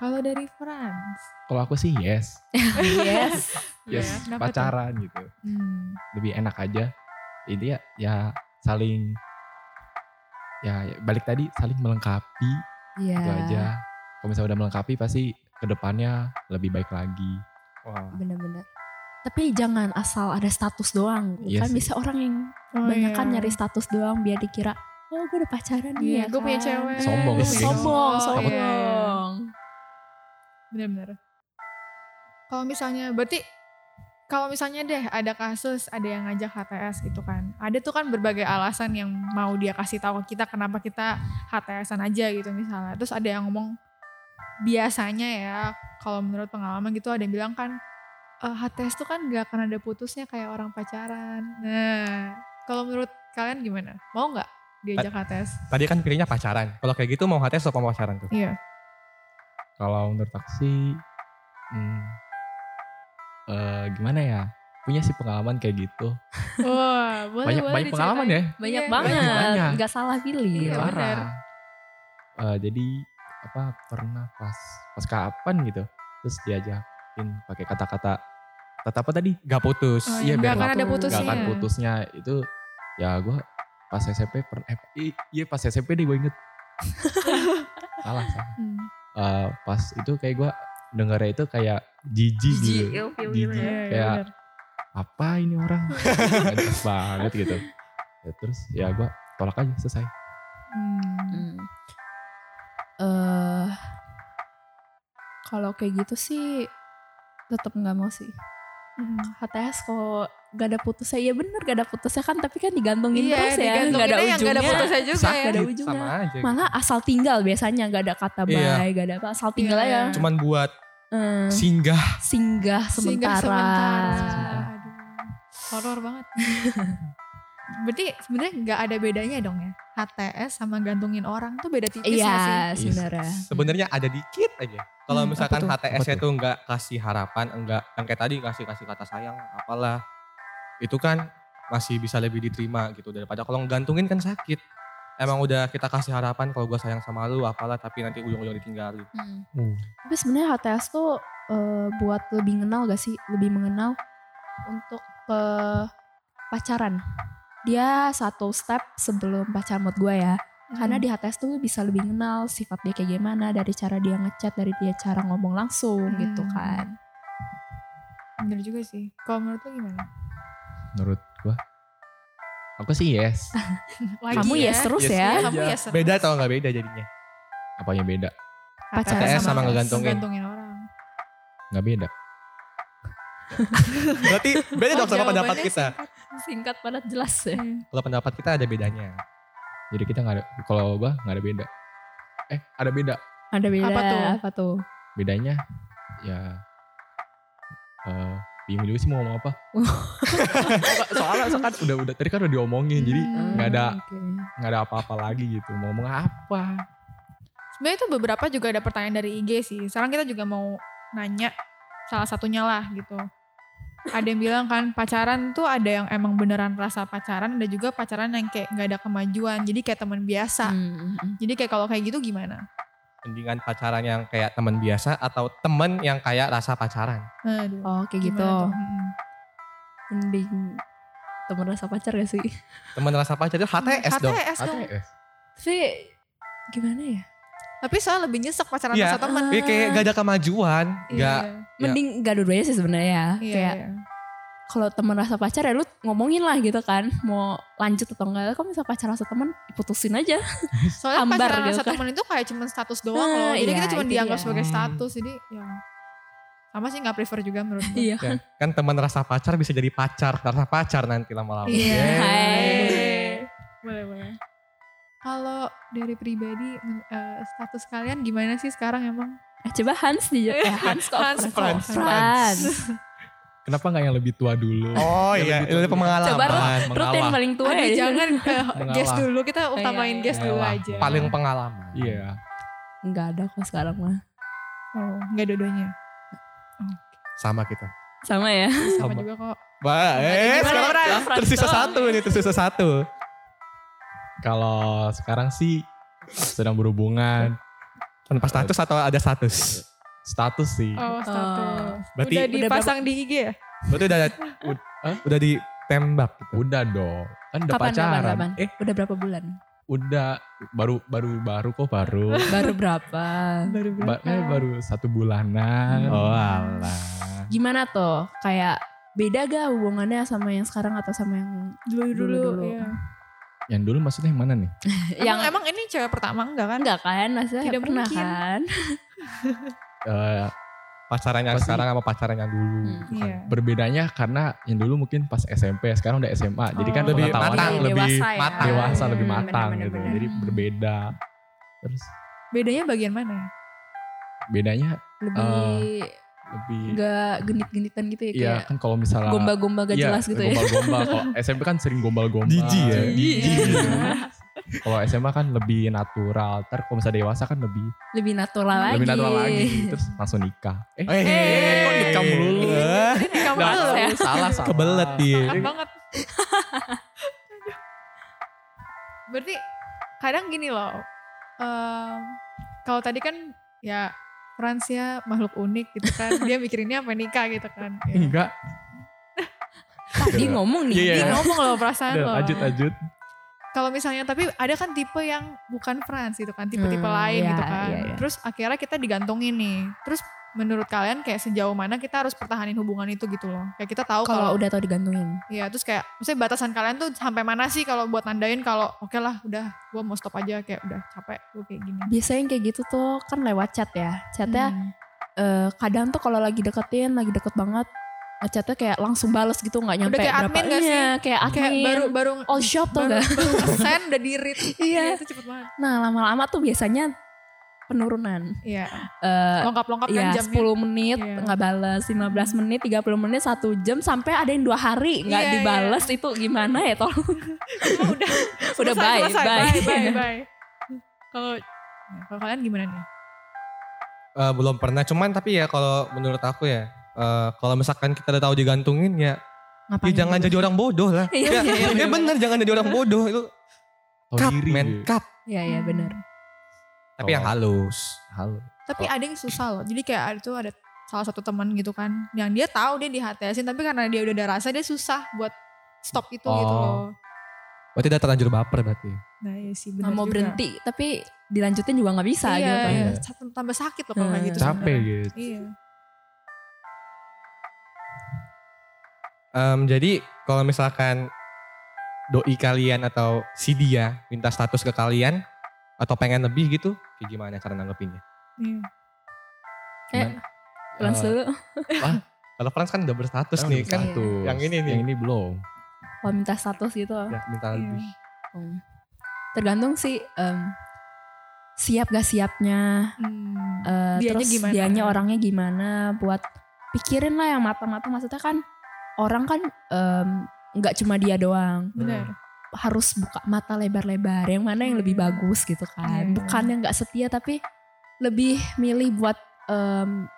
Kalau dari Frans,
Kalau aku sih yes,
yes
Iya,
yes
kenapa tuh?
pacaran gitu.
Hmm.
Lebih enak aja. Ini ya, ya saling ya ya balik tadi saling melengkapi
iya
*laughs* itu aja. Kalau misalnya udah melengkapi pasti kedepannya lebih baik lagi.
Wah.
bener-bener tapi jangan asal ada status doang
Iya
kan
sih.
bisa orang yang
Oh,
banyak kan
iya.
nyari status doang biar dikira oh gue udah pacaran
Iya,
nih ya
gue punya
kan."
cewek.
Sombong
gue punya
sih, guys.
sombong
cowok.
sombong
Iya, iya. Bener-bener. Kalau misalnya berarti kalau misalnya deh ada kasus ada yang ngajak HTS gitu kan. Ada tuh kan berbagai alasan yang mau dia kasih tahu ke kita kenapa kita HTSan aja gitu misalnya. Terus ada yang ngomong biasanya ya kalau menurut pengalaman gitu ada yang bilang kan "Eh, HTS tuh kan gak akan ada putusnya kayak orang pacaran. Nah, kalau menurut kalian gimana? Mau nggak diajak HTS?
Tadi kan pilihnya pacaran. Kalau kayak gitu mau HTS atau mau pacaran tuh?
Iya.
Kalau menurut aku sih hmm, eh, gimana ya? Punya sih pengalaman kayak gitu.
Wah, boleh
banyak
boleh
banyak pengalaman
diceritain.
ya.
banyak
Iya.
banget
Banyak.
nggak salah pilih
Iya,
loh.
benar.
Parah. Eh, jadi apa pernah pas pas kapan gitu terus diajakin pakai kata-kata kata apa tadi
Gak putus.
Oh, iya,
Iya,
gak
biar
akan
nggak
ada
putus.
putusnya.
nggak akan putusnya itu ya gue pas SMP pernah eh, i- iya pas SMP nih gue
*laughs*
inget salah salah
Hmm.
Eh, pas itu kayak gue dengarnya itu kayak jijik gitu
Iya,
Jijik.
iya,
kayak
benar.
apa ini orang Ngenes banget gitu Ya, terus ya gue tolak aja selesai
Hmm.
Hmm. eh kalau kayak gitu sih tetap nggak mau sih
Hmm.
HTS kok gak ada putusnya ya bener gak ada putusnya kan tapi kan
Iya,
digantungin terus ya
digantunginnya
nggak ada
yang nggak
ujungnya
ada putusnya juga
Sakit,
ya.
ada ujungnya.
Sama aja.
malah asal tinggal biasanya gak ada kata bye
Iya.
gak ada apa asal tinggal
Iya.
aja
Cuman buat
Eh,
singgah.
singgah
Singgah
sementara,
sementara. Aduh, horor
*laughs*
banget. Berarti sebenarnya nggak ada bedanya dong ya. HTS sama gantungin orang tuh beda tipis
iya
nggak sih?
sebenarnya
Sebenarnya ada dikit aja. Kalau
Hmm,
misalkan
apa
HTS
Apa
itu nggak kasih harapan, enggak yang kayak tadi kasih kasih kata sayang, apalah itu kan masih bisa lebih diterima gitu daripada kalau gantungin kan sakit. Emang udah kita kasih harapan kalau gua sayang sama lu, apalah tapi nanti ujung-ujung ditinggalin.
Hmm.
Hmm.
Tapi sebenarnya HTS tuh eh, buat lebih kenal gak sih? Lebih mengenal untuk eh, pacaran. Dia satu step sebelum pacaran buat gue ya. Karena
Hmm.
di HTS tuh bisa lebih kenal sifat dia kayak Hmm. gitu
kan.
gimana. Dari cara dia ngechat, dari dia cara ngomong langsung gitu
Hmm.
kan.
Bener juga sih. Kalau menurut lu gimana?
menurut gua aku sih yes
Lagi
Kamu
ya.
yes terus
Yes,
ya.
iya.
Kamu yes terus.
Beda atau nggak beda jadinya?
apanya beda
Pacaran
HTS sama ngegantungin.
ngegantungin orang.
nggak beda
*laughs*
Berarti beda
Oh,
dong sama
Jawabannya
pendapat kita.
Singkat padat jelas ya.
Iya.
Hmm.
Kalau pendapat kita ada bedanya.
jadi kita nggak ada kalau gua nggak ada beda eh ada beda
Ada beda
Apa
apa
tuh?
tuh? Apa tuh?
bedanya ya eh bingung juga sih mau ngomong apa soalnya soalnya kan *laughs* udah udah tadi kan udah diomongin jadi
Hmm.
nggak ada
Oke.
nggak ada apa-apa lagi gitu mau ngomong apa
Sebenarnya itu beberapa juga ada pertanyaan dari IG sih. Sekarang kita juga mau nanya salah satunya lah gitu. Ada yang bilang kan pacaran tuh ada yang emang beneran rasa pacaran, ada juga pacaran yang kayak nggak ada kemajuan. Jadi kayak teman biasa.
Hmm, hmm.
Jadi kayak kalau kayak gitu gimana?
Mendingan pacaran yang kayak teman biasa atau temen yang kayak rasa pacaran.
Aduh.
Oh, kayak gitu.
gimana tuh? Hmm, Mm-mm.
Mending temen rasa pacar gak sih?
Temen rasa pacar
hmm.
itu HTS
Hmm,
dong.
HTS dong.
ATS
Tapi gimana ya?
Tapi soalnya lebih nyesek pacaran
Iya.
rasa teman.
Ah,
Iya, kayak gak ada kemajuan,
Iya.
gak
Mending gak dua-duanya sih sebenarnya ya.
Iya,
Kayak
iya.
kalau teman rasa pacar ya lu ngomongin lah gitu kan. Mau lanjut atau enggak. Kalau misal pacar rasa teman putusin aja.
Soalnya
hambar
pacaran
gitu
rasa
kan.
teman itu kayak cuman status doang
Nah,
loh. Jadi
iya,
kita cuma
itu
dianggap
dia.
sebagai
Hmm.
status. Jadi ya sama sih nggak prefer juga menurut gue.
Iya.
ya, kan teman rasa pacar bisa jadi pacar, rasa pacar nanti lama-lama.
Iya.
Hai.
Boleh boleh. Kalau dari pribadi men- eh, status kalian gimana sih sekarang emang?
Eh, Coba Hans di eh, Hans kok
Iya, Hans,
Frans.
Frans.
Frans.
kenapa nggak yang lebih tua dulu
Oh iya,
Lebih-
itu pengalaman,
Coba Ruth yang
mengalah.
paling tua
Aduh,
ya.
jangan eh, guess
Mengalah.
dulu kita utamain
iya,
guess dulu
Mengalah.
aja.
Paling pengalaman.
iya
Enggak ada kok sekarang mah.
oh, nggak dodonya.
Sama kita.
Sama ya.
Sama
Sama.
juga kok.
Wah,
Gimana,
eh sekarang
Frans?
lah, tersisa satu nih, tersisa satu.
kalau sekarang sih sedang berhubungan
Tanpa status atau ada status?
status sih
Oh status.
Berarti
udah
udah,
dipasang di IG ya?
berarti udah
Ud- Hah?
udah ditembak gitu.
udah dong kan udah
Kapan, kapan,
pacaran
kapan?
eh
Udah berapa bulan?
udah baru baru baru kok baru
Baru berapa?
Baru kan.
ba eh, baru satu bulanan
Hmm.
oh alah
Gimana tuh? Kayak beda gak hubungannya sama yang sekarang atau sama yang
dulu dulu.
Dulu-dulu.
iya.
yang dulu maksudnya yang mana nih
yang
Emang, emang ini cewek pertama enggak kan?
enggak kan? Maksudnya
Tidak
pernah
mungkin.
kan?
Eh,
Pacaran yang
Pasti.
sekarang sama pacaran yang dulu.
Hmm.
Iya.
berbedanya karena yang dulu mungkin pas SMP sekarang udah SMA jadi kan
Oh,
lebih
pengetahuannya
matang,
Jadi
lebih
dewasa ya.
matang.
dewasa lebih
Hmm,
matang gitu
benar-benar.
jadi berbeda terus
Bedanya bagian mana ya?
bedanya
Lebih
lebih
enggak genit-genitan gitu ya
eh, Iya
kayak
kan kalau misalnya
gomba-gomba gak
Iya,
jelas gitu ya.
gombal-gombal kok SMP kan sering gombal-gombal
Jijik ya?
Jijik.
Iya.
kalau SMA kan lebih natural ter kalau misalnya dewasa kan lebih
Lebih natural lagi.
lebih natural lagi terus langsung nikah eh
Eh,
kok nikah
*laughs*
melulu?
Eh,
Kamu
Nah,
dulu.
salah salah
Kebelet
Iya.
dia.
Sangat banget. Berarti kadang gini loh. em, kalau tadi kan ya Fransia makhluk unik gitu kan. Dia mikirinnya apa nikah gitu kan. Ya.
enggak
Tadi ngomong nih.
Iya, iya.
Dia ngomong loh perasaan
Udah,
loh.
lanjut lanjut
Kalau misalnya tapi ada kan tipe yang bukan Frans gitu kan. Tipe-tipe
Hmm,
lain
iya,
gitu kan.
iya, iya.
Terus akhirnya kita digantungin nih. Terus menurut kalian kayak sejauh mana kita harus pertahanin hubungan itu gitu loh. Kayak kita tahu kalau
Kalau udah tau digantungin.
Iya, terus kayak maksudnya batasan kalian tuh sampai mana sih kalau buat nandain kalau oke lah udah gue mau stop aja kayak udah capek gue kayak gini.
Biasanya yang kayak gitu tuh kan lewat chat ya. Chatnya
Hmm.
eh, kadang tuh kalau lagi deketin, lagi deket banget, ngechatnya kayak langsung balas gitu nggak nyampe
kayak
berapa
admin nggak sih?
Iya, kayak admin.
kayak baru baru
all shop
*laughs*
tuh
baru
nggak?
send udah di read.
*laughs* Iya.
itu cepet banget.
Nah lama-lama tuh biasanya penurunan.
Iya.
Eh
Lengkap-lengkap kan
ya
jamnya.
10 menit
Iya.
nggak balas, 15 menit, 30 menit, 1 jam sampai ada yang dua hari nggak
Iya,
dibales itu gimana ya tolong.
Cuma udah
*laughs* Udah
selesai,
bye,
selesai.
bye.
bye, bye. Kalau nah, kalau kalian gimana nih?
Eh, belum pernah, cuman tapi ya kalau menurut aku ya, eh, kalau misalkan kita udah tahu digantungin ya, ya
Ngapain?
jangan
dulu?
jadi orang bodoh lah.
*laughs* Iya,
ya,
iya,
ya
iya.
bener jangan jadi orang bodoh itu
Tahu
cup
diri
men
deh.
cup.
Iya iya benar.
Oh, Tapi yang
Oh.
halus.
halo
Tapi ada yang susah loh. Jadi kayak ada tuh ada salah satu teman gitu kan yang dia tahu dia di HTS-in tapi karena dia udah ada rasa dia susah buat stop itu gitu loh.
Oh.
Berarti udah terlanjur baper berarti.
Nah, iya sih
Nggak
benar
mau
juga.
berhenti tapi dilanjutin juga nggak bisa
iya,
gitu kan.
iya.
Iya. gitu.
Sa- tambah sakit loh kalau kayak gitu.
capek
sebenarnya.
gitu
Iya.
Em, jadi kalau misalkan doi kalian atau si dia minta status ke kalian atau pengen lebih gitu, kayak gimana cara nanggepinnya?
Iya.
Kayak
Cuman,
Lans
eh,
dulu.
Kalau Frans kan udah berstatus
Sekarang
nih
udah
kan,
status.
yang ini nih.
Yang ini belum.
Kalau minta status gitu.
ya, minta
Iya.
lebih.
Hmm. Tergantung sih em, siap gak siapnya.
Hmm.
eh,
Dianya
terus
gimana?
dianya orangnya gimana buat pikirin lah yang matang-matang maksudnya kan orang kan em, nggak cuma dia doang
Benar.
harus buka mata lebar-lebar yang mana
Iya.
yang lebih bagus gitu kan
Hmm.
bukan yang nggak setia tapi lebih milih buat em,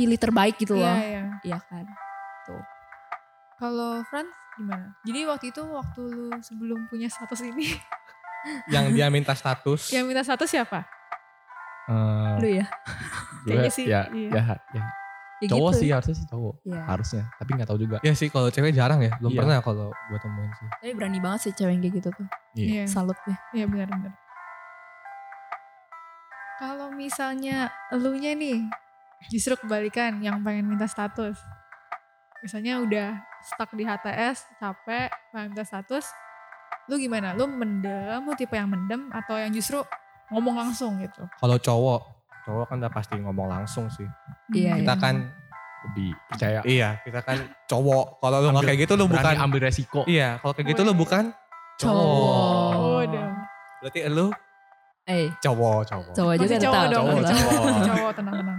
pilih terbaik gitu
Iya,
loh
iya.
iya kan
Kalau Frans gimana? Jadi waktu itu waktu lu sebelum punya status ini *laughs*
Yang dia minta status.
yang minta status siapa?
Eh,
lu ya
gue-
kayaknya sih,
Ya,
iya.
ya, ya.
Ya
Cowok
gitu.
sih harusnya sih cowok.
Iya.
Harusnya, tapi nggak tahu juga.
ya sih kalau cewek jarang ya, belum
Iya.
pernah kalau gue temuin sih.
tapi berani banget sih cewek yang kayak gitu tuh
Iya.
Iya.
salut deh
Iya benar benar. Kalau misalnya elunya nih justru kebalikan yang pengen minta status. Misalnya udah stuck di HTS, capek, pengen minta status. Lu gimana? Lu mendem, lu tipe yang mendem atau yang justru ngomong langsung gitu?
Kalau cowok, cowok kan udah pasti ngomong langsung sih.
Iya,
Kita kan,
Lebih percaya.
iya kita kan cowok. Kalau lu nggak
Ambil-
kayak gitu lu
Berani
bukan.
ambil resiko.
Iya, kalau kayak gitu lu bukan
Cowok.
Oh, udah.
Berarti lu
eh
cowok, cowok.
cowok juga
Masih cowok
tetap
dong,
Cowok,
masih
tetap.
cowok,
*laughs*
cowok.
cowok tenang-tenang.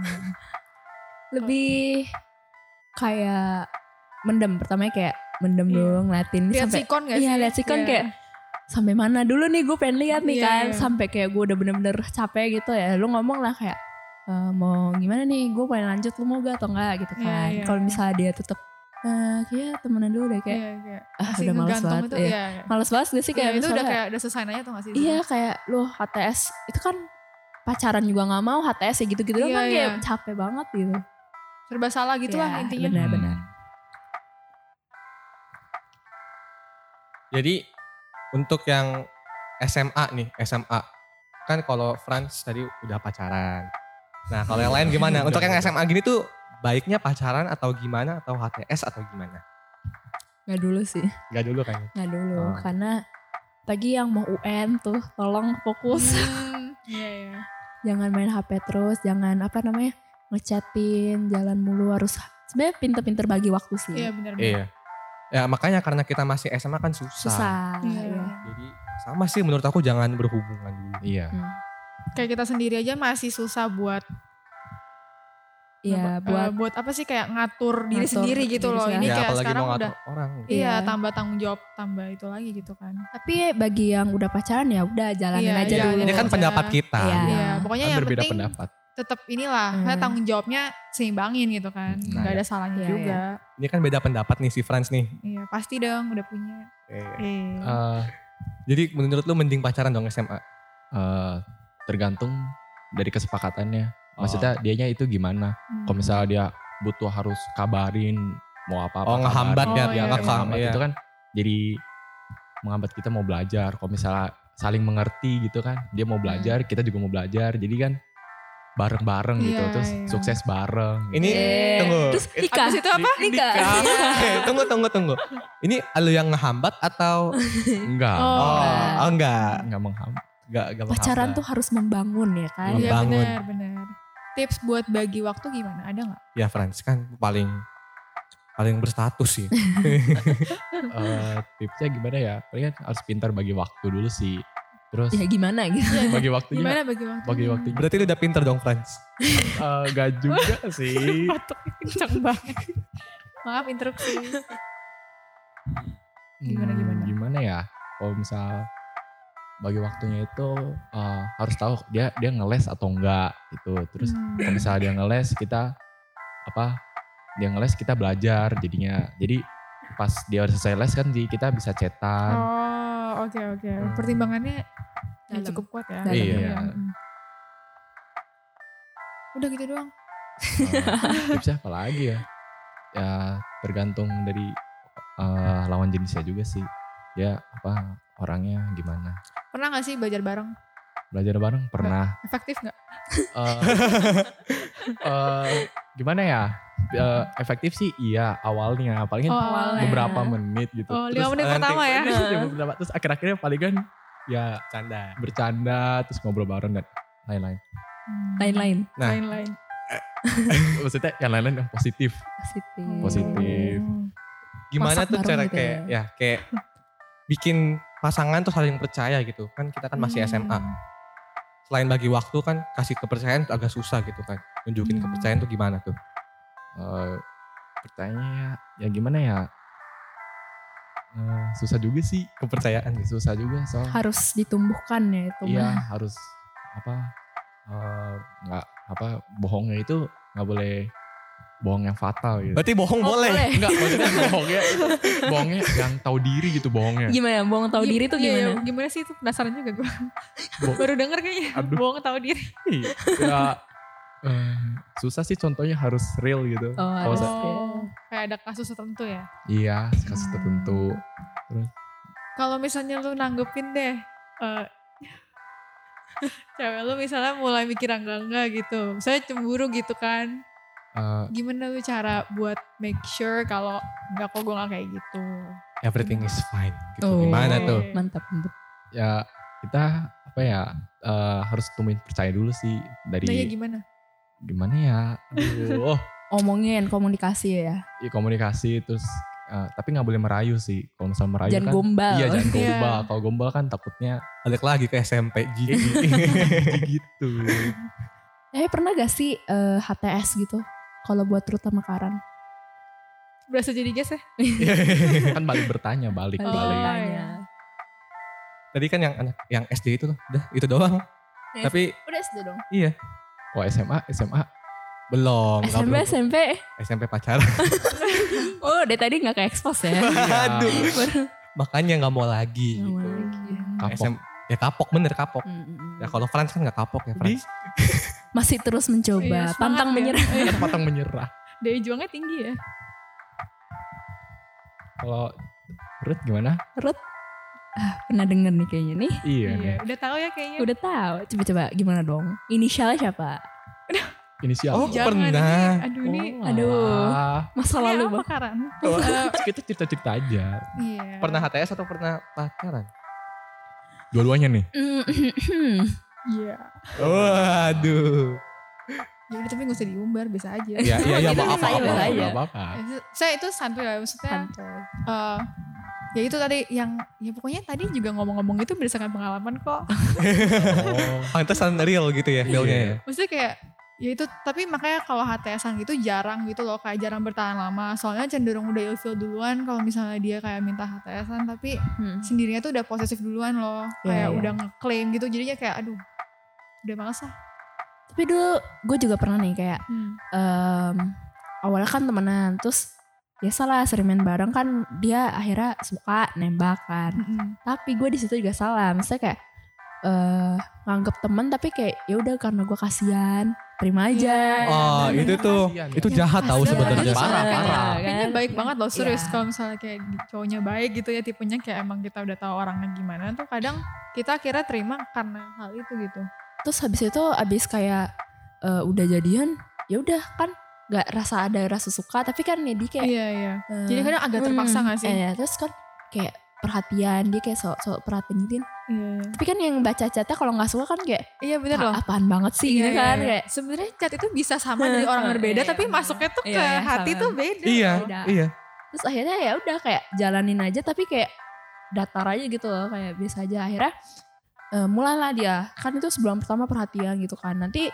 lebih kayak mendem pertamanya kayak mendem
Iya.
dulu ngeliatin Ini
Lihat
sampai
sikon gak sih?
iya lihat sikon
Iya.
kayak sampai mana dulu nih gue pengen lihat nih
Iya,
kan
iya.
sampai kayak gue udah bener-bener capek gitu ya lu ngomong lah kayak e, mau gimana nih gue pengen lanjut lu mau gak atau enggak gitu
Iya,
kan
iya.
kalau misalnya dia tetep eh kayak temenan dulu deh kayak
Iya, kayak
ah,
masih
udah males
ngegantung
banget
itu,
iya.
iya.
males banget gak sih
Iya,
kayak
itu udah
misalnya
kayak udah selesai nanya tuh gak sih?
iya kayak lu HTS itu kan pacaran juga nggak mau HTS ya gitu-gitu doang
Iya,
kan kayak
iya.
capek banget gitu
Serba salah gitu lah
Iya,
intinya.
benar.
benar.
Jadi untuk yang SMA nih, SMA kan kalau Frans tadi udah pacaran. Nah kalau yang lain gimana? Untuk yang SMA gini tuh baiknya pacaran atau gimana atau HTS atau gimana?
nggak dulu sih
Gak dulu kayaknya.
Nggak dulu,
Oh.
karena pagi yang mau UN tuh tolong fokus.
Hmm, Iya, iya.
*laughs* jangan main HP terus, jangan apa namanya ngechatin, jalan mulu harus sebenarnya pinter-pinter bagi waktu sih.
Iya benar. benar.
Iya. Ya makanya karena kita masih SMA kan susah.
Susah.
Iya.
iya.
Jadi sama sih menurut aku jangan berhubungan dulu.
Iya.
Nah,
Hmm.
Kayak kita sendiri aja masih susah buat
Iya,
apa-
buat
eh, buat apa sih kayak ngatur diri
Ngatur
sendiri gitu
diri
loh.
sendiri.
Ini
Iya,
ya
kayak
apalagi
sekarang
mau
udah
ngatur orang. gitu.
iya,
Iya.
tambah tanggung jawab, tambah itu lagi gitu kan.
tapi eh, bagi yang udah pacaran ya udah jalanin
Iya,
aja
Iya,
dulu.
ini kan
aja.
pendapat kita.
Iya.
Iya, pokoknya
Kan
yang
berbeda
penting
pendapat.
tetap inilah,
Hmm.
karena tanggung jawabnya seimbangin gitu kan.
Nah,
Gak ada salahnya
Iya,
juga.
Ini kan beda pendapat nih si Frans nih.
Iya, pasti dong udah punya. Eh.
Iya.
Eh,
Jadi menurut lu mending pacaran dong SMA?
eh, tergantung dari kesepakatannya.
Oh.
Maksudnya dianya itu gimana?
Hmm.
Kalau misalnya dia butuh harus kabarin mau apa-apa.
Oh, ngehambat
kabarin.
ya, Oh, iya,
Kayak
iya.
ngehambat
Iya.
itu kan jadi menghambat kita mau belajar. Kalau misalnya saling mengerti gitu kan, dia mau
Iya.
belajar, kita juga mau belajar. Jadi kan bareng-bareng gitu,
Iya,
terus
iya.
sukses bareng. gitu.
Ini
Iya.
tunggu.
Terus nikah.
Abis itu apa?
Nikah.
*laughs* Oke, tunggu tunggu tunggu. Ini lu yang ngehambat atau
Enggak,
Oh.
oh, oh enggak,
enggak menghambat.
enggak enggak
Pacaran tuh harus membangun ya kan.
Iya
Membangun.
benar, benar. Tips buat bagi waktu gimana? Ada nggak?
ya Frans kan paling paling berstatus sih.
Eh, tipsnya gimana ya? Paling kan harus pintar bagi waktu dulu sih. Terus
Ya gimana gitu.
bagi waktunya
Iya, Gimana bagi waktu?
bagi waktunya
Berarti lu udah pinter dong Frans.
Eh, gak juga
*laughs*
sih
Batuk kenceng banget. Maaf interupsi. Gimana,
Hmm,
gimana?
gimana ya kalau misal bagi waktunya itu eh, harus tahu dia dia ngeles atau enggak gitu terus
Hmm.
kalau misalnya dia ngeles kita apa dia ngeles kita belajar jadinya jadi pas dia udah selesai les kan jadi kita bisa cetan
Oh, oke oke.
Hmm.
Pertimbangannya ya
Dalam.
cukup kuat ya.
Dalam.
Iya.
Hmm. Udah gitu doang.
Eh,
*laughs*
tipsnya apa lagi ya ya tergantung dari eh, lawan jenisnya juga sih dia apa orangnya gimana
Pernah nggak sih belajar bareng?
belajar bareng pernah
Efektif nggak?
eh eh, gimana ya eh, efektif sih iya awalnya paling kan
awalnya.
beberapa menit gitu.
iya. Oh,
Terus-
lima menit
nanti-
pertama ya.
Iya, beberapa. Terus akhir-akhirnya paling kan ya
Canda.
bercanda terus ngobrol bareng dan lain-lain.
Lain-lain.
Hmm.
Nah.
Lain-lain.
Maksudnya yang lain-lain yang positif.
Positif.
Positif.
Hmm.
Gimana
Masak
tuh
bareng
cara
gitu
kayak ya kayak bikin pasangan tuh saling percaya gitu. Kan kita kan masih
Hmm.
SMA. Selain bagi waktu kan kasih kepercayaan tuh agak susah gitu kan. Nunjukin
Hmm.
kepercayaan tuh gimana tuh?
Eh pertanyaan ya, ya gimana ya? Eh, susah juga sih kepercayaan susah juga soal
Harus ditumbuhkan ya itu.
iya harus apa eh, nggak apa bohongnya itu nggak boleh bohong yang fatal gitu
Berarti bohong
Oh,
boleh.
boleh.
nggak maksudnya bohongnya bohongnya yang tahu diri gitu bohongnya
Gimana? Bohong tahu
Iya,
diri tuh
iya,
gimana?
iya, gimana sih itu penasaran juga gue.
Bo-
Baru denger kayaknya.
Aduh.
Bohong tahu diri.
ya eh, susah sih contohnya harus real gitu
Oh,
Kalau
harus
saya-
Oh, kayak ada kasus tertentu ya.
iya kasus tertentu
Kalau misalnya lu nanggepin deh. eh cewek lu misalnya mulai mikir enggak-enggak gitu. Misalnya cemburu gitu kan.
Eh,
Gimana lu cara buat make sure kalau enggak kok gue gak kayak gitu. Iya.
Everything is fine gitu.
Oh.
Gimana tuh?
Oke.
Mantap. mantap.
ya kita apa ya eh, harus tumbuhin percaya dulu sih dari
Nah, ya gimana?
gimana ya aduh oh
Omongin komunikasi ya.
ya komunikasi terus eh, tapi nggak boleh merayu sih kalau misalnya merayu
Jangan
kan
gombal.
Oh,
iya jangan
Iya.
gombal kalau gombal kan
*laughs*
takutnya
Balik lagi ke SMP gitu.
gitu
Eh pernah gak sih eh, HTS gitu? Kalau buat terutama Karan.
Berasa jadi guys ya?
kan balik bertanya balik
Balik.
balik
Oh,
Tanya.
iya.
Tadi kan yang anak yang SD itu tuh, udah itu doang.
Yes.
Tapi
Udah SD dong.
oh SMA SMA
belum. nggak
SMP
belum.
SMP.
SMP pacaran. *laughs*
Oh, dari tadi nggak ke expose *laughs*
Iya.
ya.
Aduh. Makanya nggak mau lagi.
Nggak mau
gitu.
lagi.
kapok
SM ya kapok bener kapok.
Mm, mm, mm.
Ya kalau Frans kan nggak kapok ya
di
Frans.
Masih terus mencoba,
Iya, semangat
pantang
ya.
menyerah.
Iya.
matang Kan menyerah
Daya juangnya tinggi ya.
kalau Ruth gimana
Pernah denger nih kayaknya nih.
iya nih
Udah tahu ya kayaknya.
Udah tahu. Coba-coba gimana dong? Inisialnya siapa?
inisial Oh,
Oh,
Jangan
pernah.
ini. Aduh ini.
aduh.
alah.
Masa
Ini
lalu,
apa,
Oh. Bang.
Karan?
kita cerita cerita aja
Iya.
Pernah HTS atau pernah pacaran?
dua-duanya nih
Mm-hmm.
Iya.
Waduh.
Ya udah tapi gak usah diumbar, biasa aja.
Ya iya iya
Gitu,
maaf maaf.
biasa aja, biasa
maaf.
aja.
nggak apa-apa
Saya itu santuy lah, maksudnya eh, ya itu tadi yang ya pokoknya tadi juga ngomong-ngomong itu berdasarkan pengalaman kok.
oh,
Pantesan real gitu ya feelnya ya.
Maksudnya kayak ya itu tapi makanya kalau HTSan gitu jarang gitu loh kayak jarang bertahan lama soalnya cenderung udah ilfil duluan kalau misalnya dia kayak minta HTSan tapi
Hmm.
sendirinya tuh udah posesif duluan loh kayak
Iya, iya.
udah ngeklaim gitu jadinya kayak aduh udah males lah
Tapi dulu gue juga pernah nih kayak em, awalnya kan temenan, terus biasalah sering main bareng kan dia akhirnya suka nembak kan.
Mm-mm.
tapi gue di situ juga salah maksudnya kayak eh nganggep temen tapi kayak ya udah karena gue kasihan terima aja
Iya.
Oh,
Iya,
itu
iya.
tuh
Kasian ya.
itu jahat tahu
Kasian.
sebenarnya.
Kasian.
Parah
Kayaknya-
parah.
Kayaknya
kan?
baik banget loh serius
Iya.
kalau misalnya kayak di- cowoknya baik gitu ya tipenya kayak emang kita udah tahu orangnya gimana tuh kadang kita akhirnya terima karena hal itu gitu.
terus habis itu habis kayak eh, udah jadian ya udah kan nggak rasa ada rasa suka tapi kan ya dia kayak
Iya iya.
eh,
Jadi kadang agak
hmm,
terpaksa nggak sih?
iya, terus kan kayak perhatian dia kayak sok sok perhatiin gitu
Iya iya.
tapi kan yang baca chatnya kalau nggak suka kan kayak
Iya benar
"Ah,
loh.
apaan banget sih gitu
Iya,
kan
iya.
kayak
Sebenarnya cat itu bisa sama dari orang
*laughs* Iya,
berbeda
iya,
tapi
iya.
masuknya tuh
Iya,
ke
iya,
hati
sama.
tuh beda.
Iya,
loh.
iya.
terus akhirnya ya udah kayak jalanin aja tapi kayak datar aja gitu loh kayak biasa aja akhirnya eh, mulailah dia kan itu sebelum pertama perhatian gitu kan nanti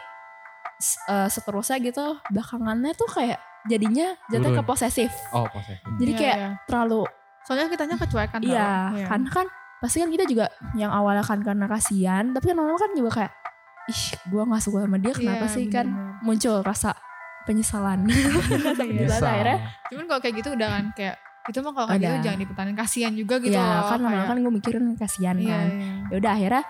s- eh, seterusnya gitu belakangannya tuh kayak jadinya jatuh ke
Turun.
posesif
oh posesif
jadi
Iya,
kayak
iya.
terlalu
soalnya kitanya kecuekan tau.
iya karena kan pasti kan kita juga yang awalnya kan karena kasihan tapi kan lama kan juga kayak ih gua nggak suka sama dia kenapa
Iya,
sih kan
bener-bener.
muncul rasa penyesalan
Iya.
Terus akhirnya-
Cuman kalau kayak gitu udah kan kayak itu mah kalau kayak
Ada.
gitu jangan dipertahankan kasihan juga gitu
Iya,
loh.
kan lama
kayak-
kan gue mikirin kasihan
Iya,
kan
iya.
ya udah akhirnya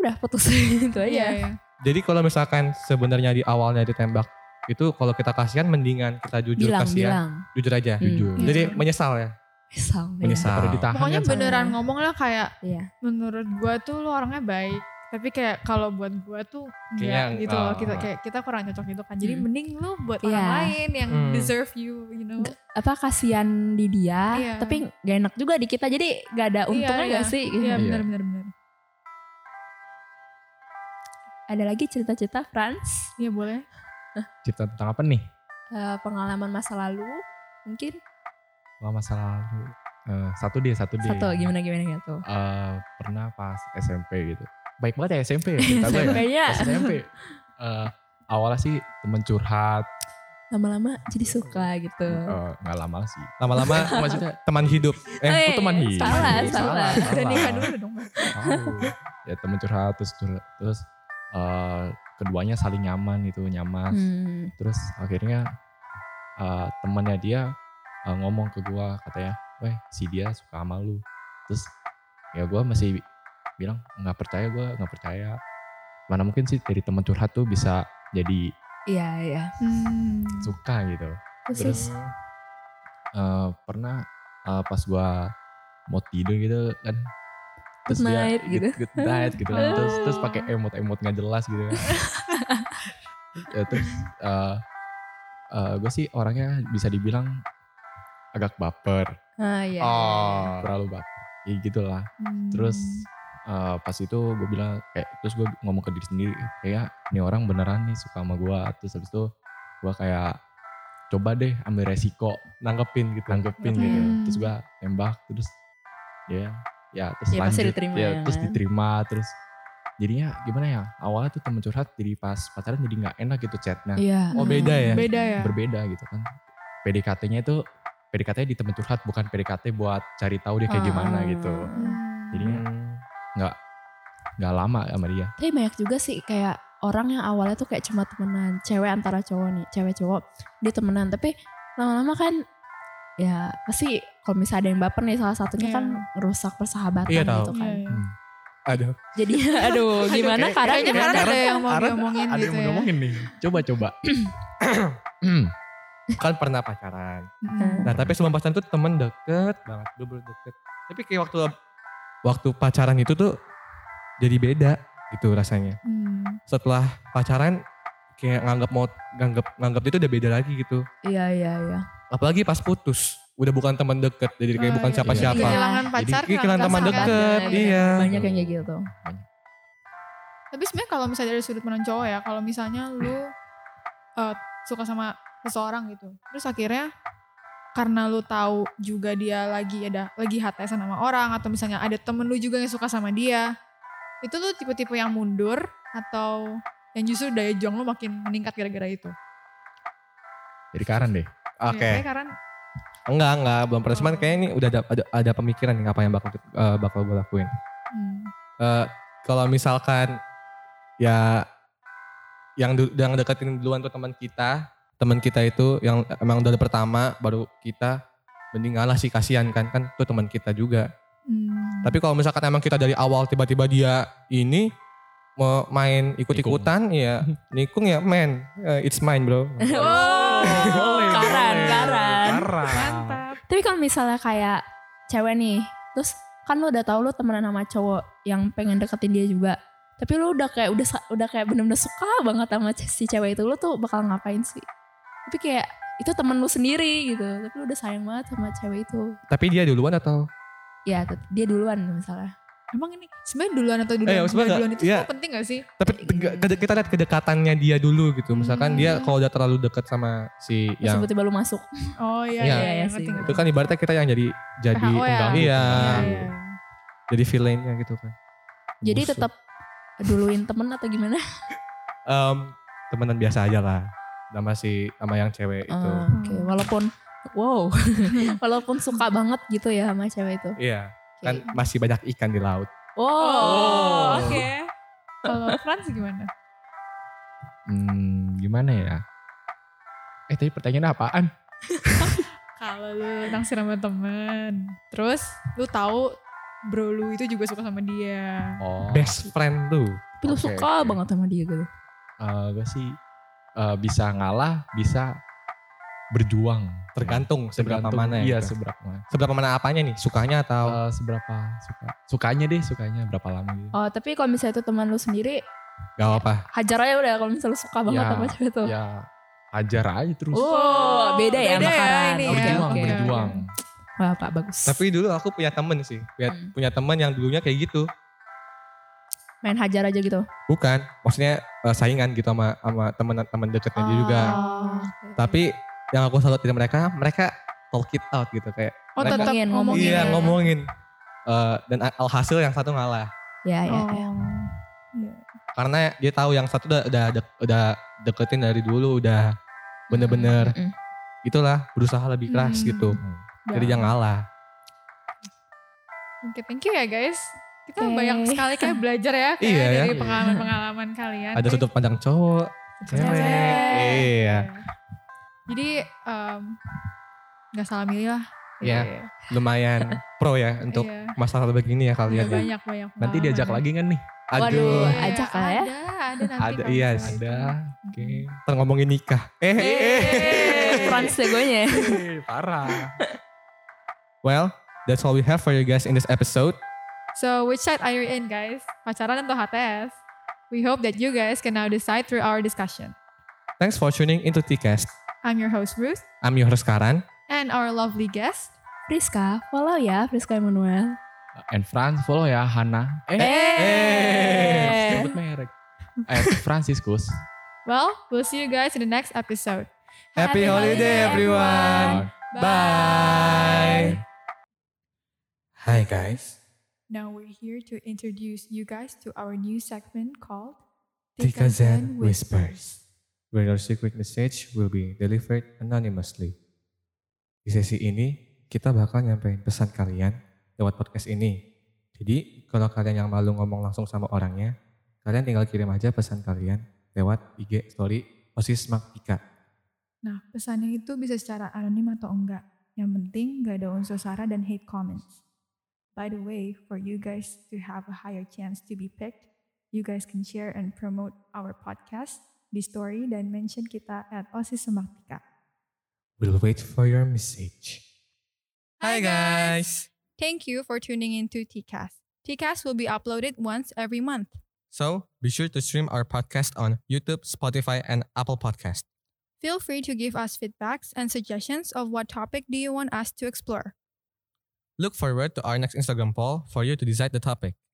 udah putus *laughs* gitu
Iya,
aja
iya.
Jadi kalau misalkan sebenarnya di awalnya ditembak itu kalau kita kasihan mendingan kita jujur
bilang
kasihan,
bilang
jujur aja.
Hmm.
jujur
Iya.
Jadi menyesal ya.
misal
Menyesal.
Daripada ditahan
Pokoknya
kan
beneran ngomong lah kayak
Iya.
menurut gua tuh lu orangnya baik. tapi kayak kalau buat gue tuh enggak
Kayaknya,
gitu loh
oh.
kita kayak kita kurang cocok gitu kan jadi
Hmm.
mending lu buat orang
Iya.
lain yang
Hmm.
deserve you you know
apa kasihan di dia
Iya.
tapi gak enak juga di kita jadi gak ada untungnya
Iya,
gak sih Hmm.
iya
Iya.
benar benar benar
ada lagi cerita-cerita Franz
iya boleh
Cerita tentang apa nih?
Eh, pengalaman masa lalu mungkin
Wah, masa lalu. Eh, satu dia, satu dia.
satu gimana gimana gitu
Eh, pernah pas SMP gitu. Baik banget ya SMP ya. cerita gue ya.
kayaknya
Pas SMP. Eh, awalnya sih temen curhat.
lama-lama jadi suka gitu
Eh, nggak lama sih.
Lama-lama
Maksudnya
teman hidup.
Eh,
Eh,
Oh, teman hidup.
salah, *laughs* kan salah.
dan nikah dulu dong Bang.
Tahu. ya temen curhat terus curhat, terus eh, keduanya saling nyaman gitu nyaman
Hmm.
terus akhirnya eh, temannya dia eh, ngomong ke gua katanya weh si dia suka sama lu terus ya gua masih bilang nggak percaya gua nggak percaya mana mungkin sih dari teman curhat tuh bisa jadi
iya iya
hmm.
suka gitu
terus
Eh, pernah eh, pas gua mau tidur gitu kan terus
Good
dia
night,
good-
gitu.
good night gitu kan terus
*laughs*
terus
Oh.
pakai emot emot nggak jelas gitu kan ya, terus eh gue sih orangnya bisa dibilang agak baper
ah iya
Oh.
terlalu baper ya gitulah
Hmm.
terus eh, pas itu gue bilang kayak terus gue ngomong ke diri sendiri kayak ini orang beneran nih suka sama gue terus habis itu gue kayak coba deh ambil resiko
nanggepin gitu.
tanggepin gitu
Hmm.
terus gua tembak terus ya ya terus
Ya, pasti diterima
ya,
ya
terus
kan?
diterima terus jadinya gimana ya awalnya tuh temen curhat jadi pas pacaran jadi nggak enak gitu chatnya
iya
Oh, beda ya?
beda ya
berbeda gitu kan PDKT-nya itu PDKT di temen curhat bukan PDKT buat cari tahu dia kayak gimana
Ah.
gitu
Hmm.
jadinya nggak nggak lama sama dia
Tapi banyak juga sih kayak orang yang awalnya tuh kayak cuma temenan, cewek antara cowok nih, cewek cowok dia temenan, tapi lama-lama kan ya pasti kalau misalnya ada yang baper nih salah satunya
Iya.
kan rusak persahabatan
Iya, tahu.
gitu kan.
Iya, iya.
Hmm.
Aduh.
Jadi aduh gimana
kayak-
karena
kayaknya
gimana?
Farhan ada
Karena-
yang mau
Ada-
diomongin
ada
gitu
yang mau
ya
ngomongin nih coba *clears throat* coba
Kan pernah pacaran.
Hmm.
Nah, tapi sebelum pacaran tuh temen deket banget. Gue baru deket. Tapi kayak waktu waktu pacaran itu tuh jadi beda gitu rasanya.
Hmm.
Setelah pacaran kayak nganggap mau nganggap nganggap itu udah beda lagi gitu.
Iya iya iya.
Apalagi pas putus, udah bukan teman deket, jadi kayak
Oh,
bukan
iya.
siapa-siapa.
Iya.
kehilangan pacar
Jadi kehilangan teman
pasangan.
deket,
Iya.
iya.
Banyak yang kayak gitu.
Tapi sebenarnya kalau misalnya dari sudut pandang cowok ya, kalau misalnya lu eh, suka sama seseorang gitu, terus akhirnya karena lu tahu juga dia lagi ada lagi HTS sama orang atau misalnya ada temen lu juga yang suka sama dia, itu lu tipe-tipe yang mundur atau yang justru daya juang lu makin meningkat gara-gara itu.
dari Karan deh
Oke.
Ya, karena
Enggak, enggak, belum pernah. Cuman kayaknya ini udah ada ada, ada pemikiran nih apa yang bakal eh, bakal gue lakuin.
hmm,
Eh, kalau misalkan ya yang du- yang deketin duluan tuh teman kita, teman kita itu yang emang dari pertama baru kita mending ngalah sih kasihan kan kan tuh teman kita juga.
hmm.
Tapi kalau misalkan emang kita dari awal tiba-tiba dia ini mau main ikut-ikutan ya nikung ya men eh, it's mine *laughs* bro
boleh,
Karan,
boleh.
Karan.
mantap.
Tapi kalau misalnya kayak cewek nih, terus kan lu udah tahu lu temenan sama cowok yang pengen deketin dia juga. Tapi lu udah kayak udah sa- udah kayak bener-bener suka banget sama ce- si cewek itu, lu tuh bakal ngapain sih? Tapi kayak itu temen lu sendiri gitu, tapi lu udah sayang banget sama cewek itu.
tapi dia duluan atau
Ya tet- dia duluan misalnya.
Emang ini sebenarnya duluan atau duluan,
Eh,
dia
sebenarnya
duluan itu
iya.
semua penting gak sih?
tapi tega- kede- kita lihat kedekatannya dia dulu gitu misalkan
Hmm.
dia kalau udah terlalu dekat sama si
Terus
yang
tiba-tiba lu masuk.
Oh iya
Iya,
iya, iya,
iya
ngerti,
sih.
ngerti.
itu kan ibaratnya kita yang jadi jadi
PHO ya.
pengganggu
Iya,
iya
iya, iya.
jadi villainnya gitu kan
Jadi
Busuk.
tetap duluin temen atau gimana?
Em, temenan biasa aja lah sama si sama yang cewek itu
Eh, Oke, walaupun wow, *laughs* walaupun suka banget gitu ya sama cewek itu.
iya
Oke.
kan masih banyak ikan di laut
Wow,
Oh,
oke.
oke. Kalau Frans gimana?
Hmm, gimana ya? Eh tadi pertanyaannya apaan?
Kalau lu naksir sama temen, terus lu tahu bro lu itu juga suka sama dia.
Oh,
best friend tuh
Tapi lu
Oke,
suka
oke.
banget sama dia gitu.
gue sih eh, bisa ngalah, bisa berjuang
Tergantung Ah. seberapa
Tergantung-
mana ya.
iya
gitu.
seberapa mana
seberapa mana apanya nih? Sukanya atau
Eh, seberapa suka sukanya deh sukanya berapa lama gitu
Oh, tapi kalau misalnya itu teman lu sendiri,
gak apa?
hajar aja udah kalau misalnya lu suka banget
Ya.
sama cewek tuh.
ya ajar aja terus
Oh, beda ya
beda ya
makanan.
ini
Oke,
Oh,
ya.
berjuang
oke.
berjuang
Wah, Pak, bagus.
Tapi dulu aku punya temen sih. Punya,
Hmm.
punya temen yang dulunya kayak gitu.
main hajar aja gitu.
Bukan, maksudnya eh, saingan gitu sama sama teman-teman dekatnya dia juga.
Ah.
Oh.
Tapi yang aku salut dari mereka, mereka talk it out gitu kayak.
Oh
mereka-
tetap
Ngomongin,
ngomongin.
ngomongin.
Iya
ya.
ngomongin. Eh, dan alhasil yang satu ngalah
Ya, ya.
Oh.
ya.
karena dia tahu yang satu udah udah, dek- udah deketin dari dulu udah bener-bener
Mm-mm.
itulah berusaha lebih keras
Hmm.
gitu
Hmm.
jadi jangan ngalah
Oke, thank you ya guys. Kita
Oke.
banyak sekali kayak belajar ya kayak
Iya ya.
dari pengalaman-pengalaman kalian. Iya.
ada
Jadi-
sudut pandang cowok cewek
Cewek.
iya
Jadi em, nggak salah milih lah.
Iya.
*laughs*
lumayan pro ya untuk
iya.
masalah begini ya
Udah
kalian ya.
Iya, banyak banyak.
nanti
pengalaman.
diajak lagi kan nih
aduh
Waduh.
Iya,
ajak lah ya.
Ada, ada nanti.
Ada,
kalau
iya,
misalnya.
ada oke
ntar ngomongin nikah eh, eh, eh.
Yeay.
*laughs*
Trans deh gue nya.
Hei, parah
well that's all we have for you guys in this episode
*laughs* So which side are you in guys? Pacaran atau HTS? We hope that you guys can now decide through our discussion.
thanks for tuning into TCast
I'm your host Ruth
I'm Yohres Karan
and our lovely guest.
Friska, follow ya Friska Emmanuel.
and France follow ya Hana eh,
Eh.
sebut merek eh Franciscus
Well, we'll see you guys in the next episode.
Happy holiday,
Eh,
everyone. Bye. Hi guys.
Now we're here to introduce you guys to our new segment called
Tika Zen Whispers, where your secret message will be delivered anonymously. Di sesi ini, kita bakal nyampein pesan kalian lewat podcast ini. Jadi, kalau kalian yang malu ngomong langsung sama orangnya, kalian tinggal kirim aja pesan kalian lewat IG story Osis Magtika.
Nah, pesannya itu bisa secara anonim atau enggak. Yang penting gak ada unsur sara dan hate comments. By the way, for you guys to have a higher chance to be picked, you guys can share and promote our podcast di story dan mention kita at Osis Semaktika.
We'll wait for your message. Hi guys.
Thank you for tuning in to TCast. TCast will be uploaded once every month.
So, be sure to stream our podcast on YouTube, Spotify, and Apple Podcast.
Feel free to give us feedbacks and suggestions of what topic do you want us to explore.
Look forward to our next Instagram poll for you to decide the topic.